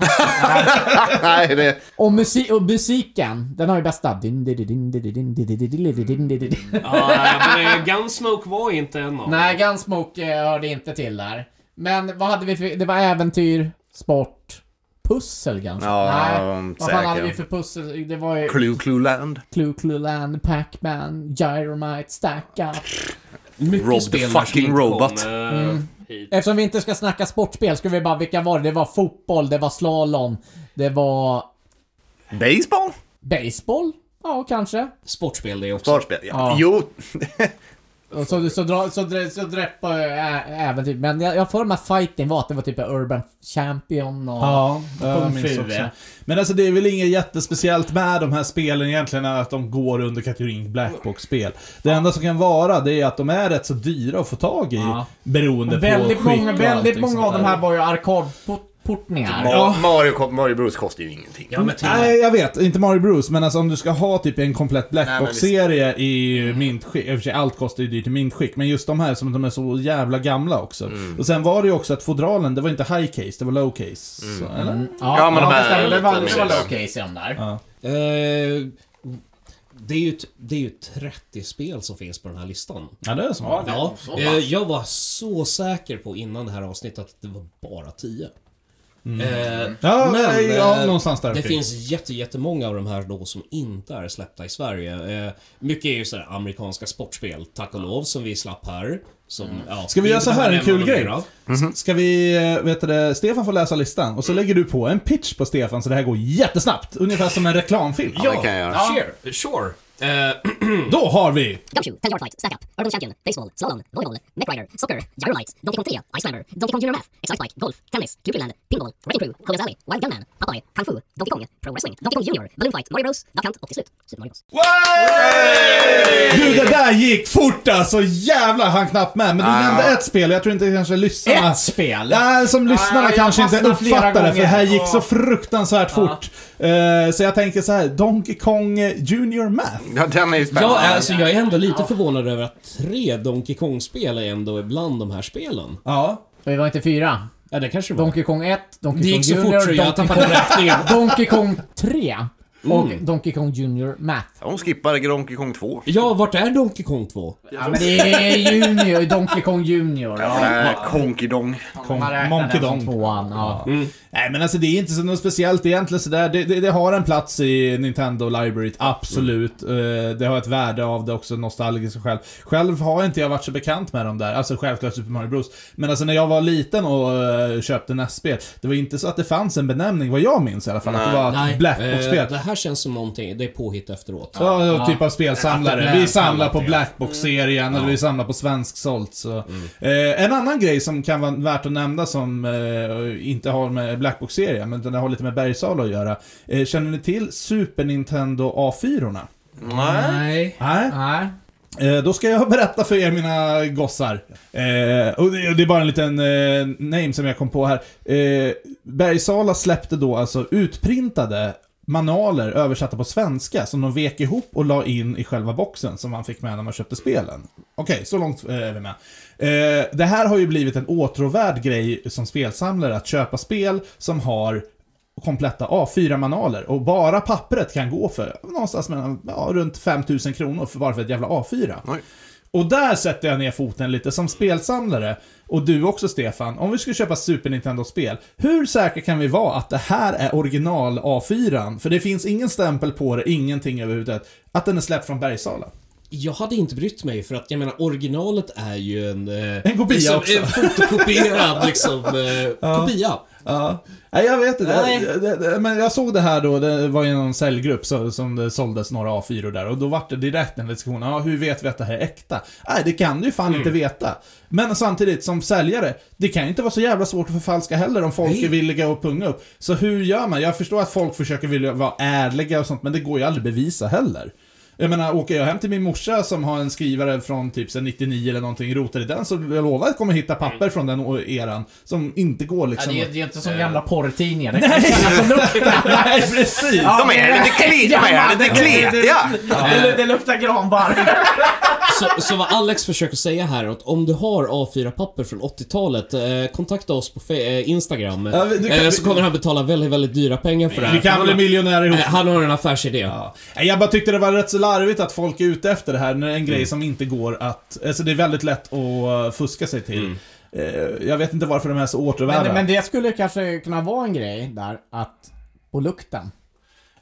B: Nej, det...
D: Och, musi- och musiken, den har ju bästa... Din, di, di, din, di, di, din, di, di, di, di, di, din, di, di, di.
L: Ja, men eh, Gunsmoke var inte en av dem.
D: Nej, Gunsmoke eh, hörde inte till där. Men vad hade vi för... Det var äventyr, sport, pussel kanske?
B: Ja,
D: Nej, vad fan
B: säkert.
D: hade vi för pussel? Det var ju...
B: Clue Clue Land.
D: Clue Clue Land, Pac-Man, Gyromite, Stack Up.
L: Mycket
B: Rob the fucking robot.
C: eh,
D: Mm. Eftersom vi inte ska snacka sportspel ska vi bara, vilka var det? Det var fotboll, det var slalom, det var
B: Baseball?
D: baseball? Ja, kanske.
C: Sportspel det också.
B: Sportspel, ja.
D: Ja.
B: Jo.
D: Och så, så, dra, så, dra, så dräppa äh, även typ. Men jag jag har för mig att fighting var att det var typ Urban Champion och...
A: Ja,
D: och
A: jag
D: Kung
A: minns
D: Fu.
A: också. Men alltså det är väl inget jättespeciellt med de här spelen egentligen, är att de går under kategorin blackbox-spel. Det enda som kan vara, det är att de är rätt så dyra att få tag i. Beroende
D: Och
A: på
D: väldigt
A: skick och
D: många, väldigt
A: allting
D: många av
A: sånt
D: de här
A: där.
D: var ju arkadportningar.
B: Ma- Mario, Mario Bros kostar ju ingenting.
A: Nej, jag vet. Inte Mario Bros, men alltså om du ska ha typ en komplett Blackbox-serie i mintskick. I och för sig, allt kostar ju dyrt i mintskick, men just de här som de är så jävla gamla också. Och sen var det ju också att fodralen, det var inte high case, det var low case. Så, eller?
D: Ja,
B: Ja, men de här-
D: det stämmer. Det var, det var
B: precis.
D: low case i de där.
A: Ja.
C: Eh, det, är ju, t- det är ju 30 spel som finns på den här listan.
A: Ja, det är så.
C: Ja,
A: Ja, det är så pass.
C: eh, jag var så säker på innan det här avsnittet att det var bara 10.
A: Mm.
C: Eh,
A: Ja, nej, ja,
C: eh,
A: någonstans där
C: Det
A: omkring.
C: finns jätte, jättemånga av de här då som inte är släppta i Sverige. Eh, mycket är ju sådär amerikanska sportspel, tack och lov, som vi slapp här. Som, ja,
A: Mm. Ska vi
C: det
A: göra så
C: är
A: här, en
C: en av
A: kul
C: de
A: grej?
C: mer av.
D: Mhm.
A: S- Ska vi, eh, vet du det, Stefan får läsa listan och så lägger du på en pitch på Stefan så det här går jättesnabbt. Ungefär som en reklamfilm.
C: Ja, Sure. sure. Eh,
A: Då har vi!
N: Gumshoe, Tellur Fight, Stack Up, Urban Champion, Baseball, Slalom, Volleyball, Neck Rider, Soccer, Gyrolite, Donkey Kong 3, Ice Climber, Donkey Kong Junior Math, Excite Bike, Golf, Tennis, Cupidland, Pinball, Wrecking Crew, Collins Alley, Wild Gunman, Popeye, Kung Fu, Donkey Kong, Pro Wrestling, Donkey Kong Junior, Balloon Fight, Mario Bros, Duck Hunt och till slut Super Mario Bros.
A: Du, det där gick fort alltså! Jävlar, han knappt med. Men du
B: Ah.
A: nämnde ett spel, jag tror inte kanske lyssnarna...
D: Ett spel?
A: Ja, som lyssnarna
D: Ah, jag
A: kanske inte
D: fastnade flera
A: uppfattar det, för det här
D: gånger.
A: gick så fruktansvärt fort. Eh, så jag tänker så här, Donkey Kong eh, Junior Math.
B: Ja, den är ju
C: Ja,
B: spännande.
C: alltså jag är ändå lite förvånad över att tre Donkey Kong-spel är ändå bland de här spelen.
A: Ja.
D: Vi var inte fyra.
C: Ja, det kanske det var.
D: Donkey Kong 1, Donkey
C: Det
D: Kong
C: gick så fort
D: Junior,
C: så jag
D: Donkey
C: tappade
D: Kong-
C: räkningen.
D: Donkey Kong 3 och
C: Mm.
D: Donkey Kong Junior Math.
B: De skippar Donkey Kong 2.
C: Ja, vart är Donkey Kong 2?
D: Ja, men det är Junior, Donkey Kong Junior.
B: Ja, Eh, Konky Dong.
D: Man räknar
A: Monkey
D: den
A: Dong.
D: som Tvåan, ja.
C: Mm.
A: Nej men alltså det är inte så något speciellt egentligen sådär. Det, det, det har en plats i Nintendo Library, absolut.
C: Mm.
A: Eh, det har ett värde av det också, nostalgiskt själv. Själv har inte jag varit så bekant med dem där, alltså självklart Super Mario Bros. Men alltså när jag var liten och eh, köpte NES-spel, det var inte så att det fanns en benämning, vad jag minns i alla fall, att det var
C: Eh,
A: Blackbox-spel.
C: det här känns som någonting, det är påhitt efteråt.
A: Ja, ja, typ av
C: Att det
A: spelsamlare.
C: blev
A: Vi samlar på
C: kallat det.
A: Blackbox-serien, eller
C: Ja. Mm.
A: vi samlar på svensk sålt, så. eh, En annan grej som kan vara värt att nämna som eh, inte har med Blackbox-serien, men den har lite med Bergsala att göra. Eh, känner ni till Super Nintendo A4-orna?
D: Nej.
A: Nej.
D: Nej.
A: Eh, Då ska jag berätta för er mina gossar. Eh, och det och det är bara en liten eh, name som jag kom på här. Eh, Bergsala släppte då alltså utprintade manualer översatta på svenska som de vek ihop och la in i själva boxen som man fick med när man köpte spelen. Okej, så långt eh, är vi med. Eh, det här har ju blivit en åtråvärd grej som spelsamlare att köpa spel som har kompletta A4-manualer och bara pappret kan gå för någonstans mellan, ja, runt 5000 kronor för bara för ett jävla A4. Och där sätter jag ner foten lite som spelsamlare, och du också Stefan, om vi skulle köpa Super Nintendo-spel, hur säkra kan vi vara att det här är original A4? För det finns ingen stämpel på det, ingenting överhuvudtaget. Att den är släppt från Bergsala.
C: Jag hade inte brytt mig för att jag menar originalet är ju en...
A: En kopia
C: liksom,
A: också.
C: En fotokopierad liksom eh,
A: Ja.
C: kopia.
A: Ja. Nej, jag vet inte.
C: Nej.
A: Det- det- Men jag såg det här då, det var ju någon säljgrupp så, som det såldes några A4 där och då var det direkt en diskussion, ja hur vet vi att det här är äkta? Nej, det kan du ju fan inte
D: Mm.
A: veta. Men samtidigt, som säljare, det kan ju inte vara så jävla svårt att förfalska heller om folk är villiga att punga upp. Så hur gör man? Jag förstår att folk försöker vilja vara ärliga och sånt, men det går ju aldrig bevisa heller. Jag menar, åker jag hem till min morsa som har en skrivare från typ så här 99 eller någonting, rotar i den, så jag lovar att jag kommer hitta papper från den o- eran som inte går liksom...
D: Mm. Ja, det är- det är inte som gamla
A: porrtidningar.
D: det
A: Nej!
D: kan kännas som luktar.
A: Nej, precis!
D: Ja,
B: De är lite kle- de är lite kletiga.
D: Det, det luktar granbarr.
C: Så, så vad Alex försöker säga här, att om du har A4-papper från 80-talet, eh, kontakta oss på fe- eh, Instagram.
A: Ja, vi- du kan-
C: eh, så kommer han betala väldigt, väldigt dyra pengar för det här.
A: Vi kan
C: Han-
A: bli miljonärer ihop.
C: Eh, Han har en affärsidé.
A: Nej, Jag bara tyckte det var rätt så larvigt att folk är ute efter det här när det är en grej som inte går att... Alltså det är väldigt lätt att eh, fuska sig till. Eh, Jag vet inte varför de är så återvärda.
D: Men, men det skulle kanske kunna vara en grej där, att på lukten.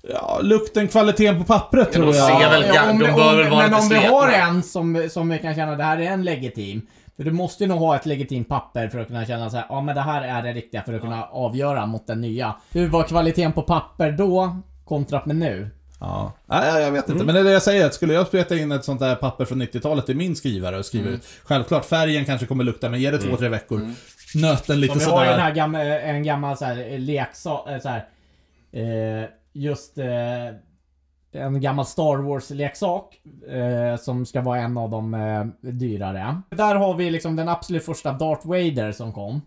A: Ja, lukten, kvaliteten på pappret tror jag.
D: Ja, om det- om- Men om vi har en som, som vi kan känna det här är en legitim. För du måste ju nog ha ett legitimt papper för att kunna känna så här, ja men det här är det riktiga för att kunna avgöra mot den nya. Hur var kvaliteten på papper då kontra med nu?
A: Ja. Nej, jag- jag vet inte. Men det är det jag säger, att skulle jag spreta in ett sånt där papper från 90-talet i min skrivare och skriva
D: Mm.
A: ut. Självklart, färgen kanske kommer lukta, men ge det två,
D: Mm.
A: tre veckor. Nöten lite
D: Som jag har ju den här
A: sådär.
D: gamla, en gammal så här, leksak, eh, så här, eh, just eh, en gammal Star Wars-leksak eh, som ska vara en av de eh, dyrare. Där har vi liksom den absolut första Darth Vader som kom.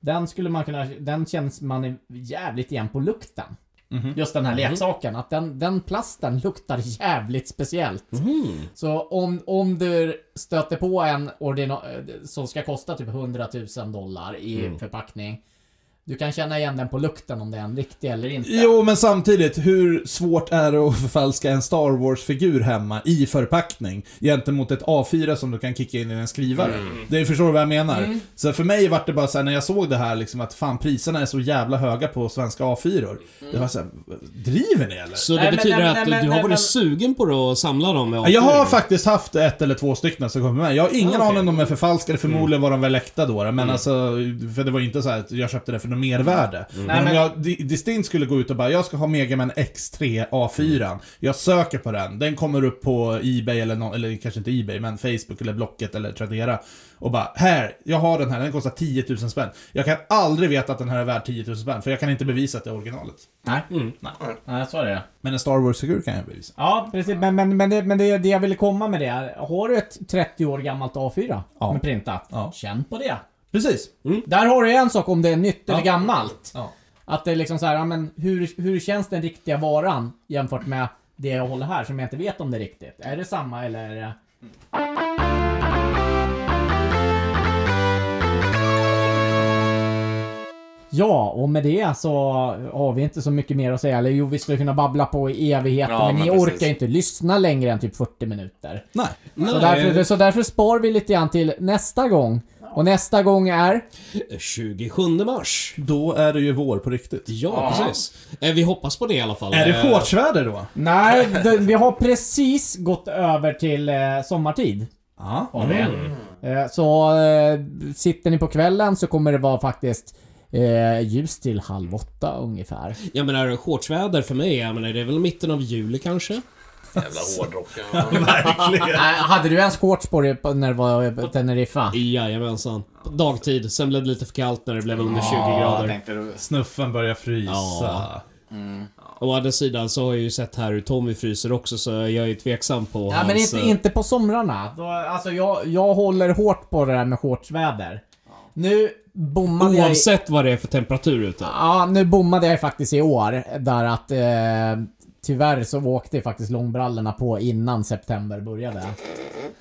D: Den skulle man kunna, den känns man jävligt igen på lukten.
A: Mhm.
D: Just den här
A: Mhm.
D: leksaken, att den, den plasten luktar jävligt speciellt.
A: Mhm.
D: Så om, om du stöter på en ordina- eh, som ska kosta typ 100 000 dollar i
A: Mm.
D: förpackning. Du kan känna igen den på lukten om det är en riktig eller inte.
A: Jo, men samtidigt, hur svårt är det att förfalska en Star Wars-figur hemma i förpackning gentemot ett A4 som du kan kicka in i en skrivare?
B: Mm.
A: Det förstår du vad jag menar?
B: Mm.
A: Så för mig vart det bara såhär när jag såg det här liksom att fan priserna är så jävla höga på svenska A4. Det var såhär, driver ni eller?
C: Så det betyder att du har varit sugen på att samla dem? Med
A: Ja, Jag har
C: A4.
A: faktiskt haft ett eller två stycken som kommer med. Jag har ingen
C: Ah, okej.
A: aning om de är förfalskade, förmodligen var de väl äkta då. Men
C: Mm.
A: alltså, för det var ju inte så här att jag köpte det för något mervärde. Men
B: Mm. Nej,
A: om
B: men-
A: jag di- distinkt skulle gå ut och bara, jag ska ha Mega Man X3 A4. Jag söker på den, den kommer upp på Ebay eller nå eller kanske inte Ebay, men Facebook eller Blocket eller Tradera. Och bara, här, jag har den här, den kostar 10 000 spänn. Jag kan aldrig veta att den här är värd 10 000 spänn, för jag kan inte bevisa att det är originalet.
D: Nej.
A: Nej.
D: Nej, så är det.
A: Men en Star Wars-figur kan jag bevisa.
D: Ja, precis. Men, men, men, det, men det, det jag ville komma med det är, har du ett 30 år gammalt A4
A: Ja.
D: med printat, känn på det.
A: Precis.
D: Där har du en sak om det är nytt eller gammalt.
A: Ja.
D: Att det är liksom så här, ja, men hur, hur känns den riktiga varan jämfört med det jag håller här som jag inte vet om det är riktigt? Är det samma eller är det... Ja, och med det så har vi inte så mycket mer att säga. Eller jo, vi skulle kunna babbla på i evigheter,
A: Ja,
D: men,
A: men
D: ni
A: precis.
D: orkar ju inte lyssna längre än typ 40 minuter.
A: Nej.
D: Så,
A: Nej.
D: därför, så därför spar vi lite grann till nästa gång. Och nästa gång är...
C: 27 Eh, mars.
A: Då är det ju vår på riktigt.
C: Ja, precis. Eh, Vi hoppas på det i alla fall.
A: Är det
C: Eh,
A: shortsväder då?
D: Nej, det, vi har precis gått över till eh, sommartid.
A: Ja.
D: Har vi. Eh, så eh, sitter ni på kvällen så kommer det vara faktiskt eh, ljus till halv åtta ungefär.
C: Jag menar, shortsväder för mig, jag menar, det är väl mitten av juli kanske?
B: Jävla hårdrock.
D: Äh, hade du ens shorts på dig på- när det var Teneriffa?
C: Jajamensan. På Dagtid, sen blev det lite för kallt när det blev under 20
A: Ja,
C: grader.
A: tänkte du. Snuffen börjar frysa.
C: Ja. Å andra sidan så har jag ju sett här hur Tommy fryser också så jag är ju tveksam på
D: Ja
C: hans...
D: men inte,
C: eh,
D: alltså, inte på somrarna. Då, alltså jag, jag håller hårt på det där med shortsväder. Nu bommade jag... i-
C: eh, Oavsett vad det är för temperatur ute.
D: Ja, nu bommade jag ju faktiskt i år. Där att eh, tyvärr så åkte ju faktiskt långbrallorna på innan september började.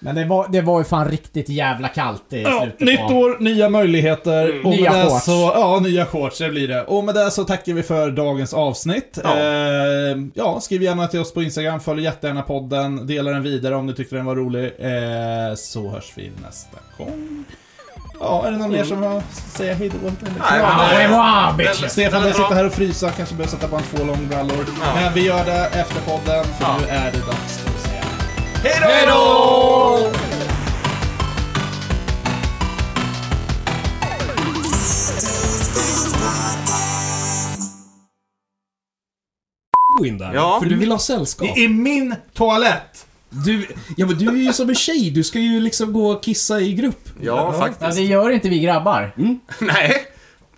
D: Men det var, det var ju fan riktigt jävla kallt i
A: Ja,
D: slutet
A: nytt
D: av...
A: år, nya möjligheter. Och
D: Mm. Nya
A: med det
D: shorts.
A: så, ja, nya shorts, det blir det. Och med det så tackar vi för dagens avsnitt. Ja. Eh, ja, skriv gärna till oss på Instagram, följ jättegärna podden, dela den vidare om ni tyckte den var rolig. Eh, så hörs vi nästa gång. Ja, är det någon mer som har att säga hej då?
D: Nej, men- Wow, bitches.
A: Stefan
D: Den är
A: börjar
D: bra.
A: sitta här och frysa, kanske behöver sätta på en två långbrallor.
D: Ja.
A: Men vi gör det efter podden, för nu är det dags att säga
B: Hej då!
C: Gå in där.
A: Ja.
C: För du vill ha sällskap.
A: I min toalett!
C: Du, ja men du är ju som en tjej, du ska ju liksom gå och kissa i grupp.
D: Ja, det gör inte vi grabbar.
B: Nej.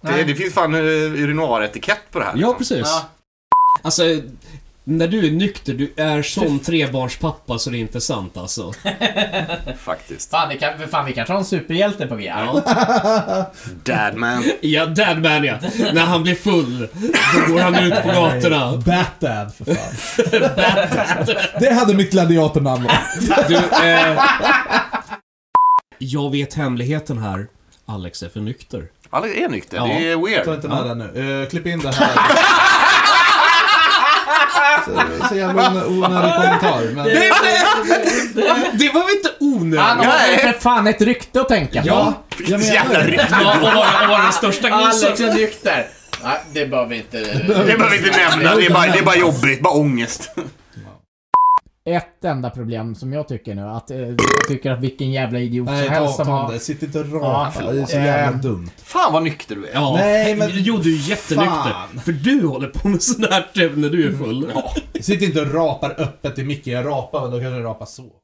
B: Det,
C: Nej.
B: det finns fan eh, urinoaretikett på det här. liksom.
C: Ja, precis. Alltså, när du är nykter, du är sån trebarnspappa så det är inte sant alltså.
B: Faktiskt.
D: Fan, vi, kan, fan, vi kanske har en superhjälte på G.
B: Dadman.
C: Ja, Dadman ja. När han blir full, då går han ut på gatorna.
A: Batdad för fan. Det hade mitt gladiatornamn
C: Du, eh, jag vet hemligheten här. Alex är för nykter.
B: Alex är nykter,
C: Ja.
B: det är weird.
A: Ta inte med den nu. Eh, klipp in det här. så, så jävla onö- onödig kommentar. Men...
C: Det, det var väl inte onödigt?
D: Han har ju för fan ett rykte att tänka på.
C: Ja,
A: jag menar Jävla det. rykte.
C: Ja, och vara- och vara den största gnisset.
D: Alex är nykter. Nej, det behöver vi inte...
B: Det behöver vi inte nämna, det är bara, det är bara jobbigt, bara ångest.
D: Ett enda problem som jag tycker nu, att eh, jag tycker att vilken jävla idiot
A: Nej,
D: som
A: ta
D: helst som
A: avstånd
D: har...
A: där. Sitt inte och
D: Ja,
A: rapa.
D: förlåt.
A: det är så jävla
D: Eh,
A: dumt.
B: Fan vad nykter du är.
C: Ja,
A: Nej, men-
C: jo du är jättenykter.
A: Fan.
C: För du håller på med sån här typ när du är full.
A: Sitt inte och rapar öppet i micken. Jag rapar, men då kanske jag rapar så.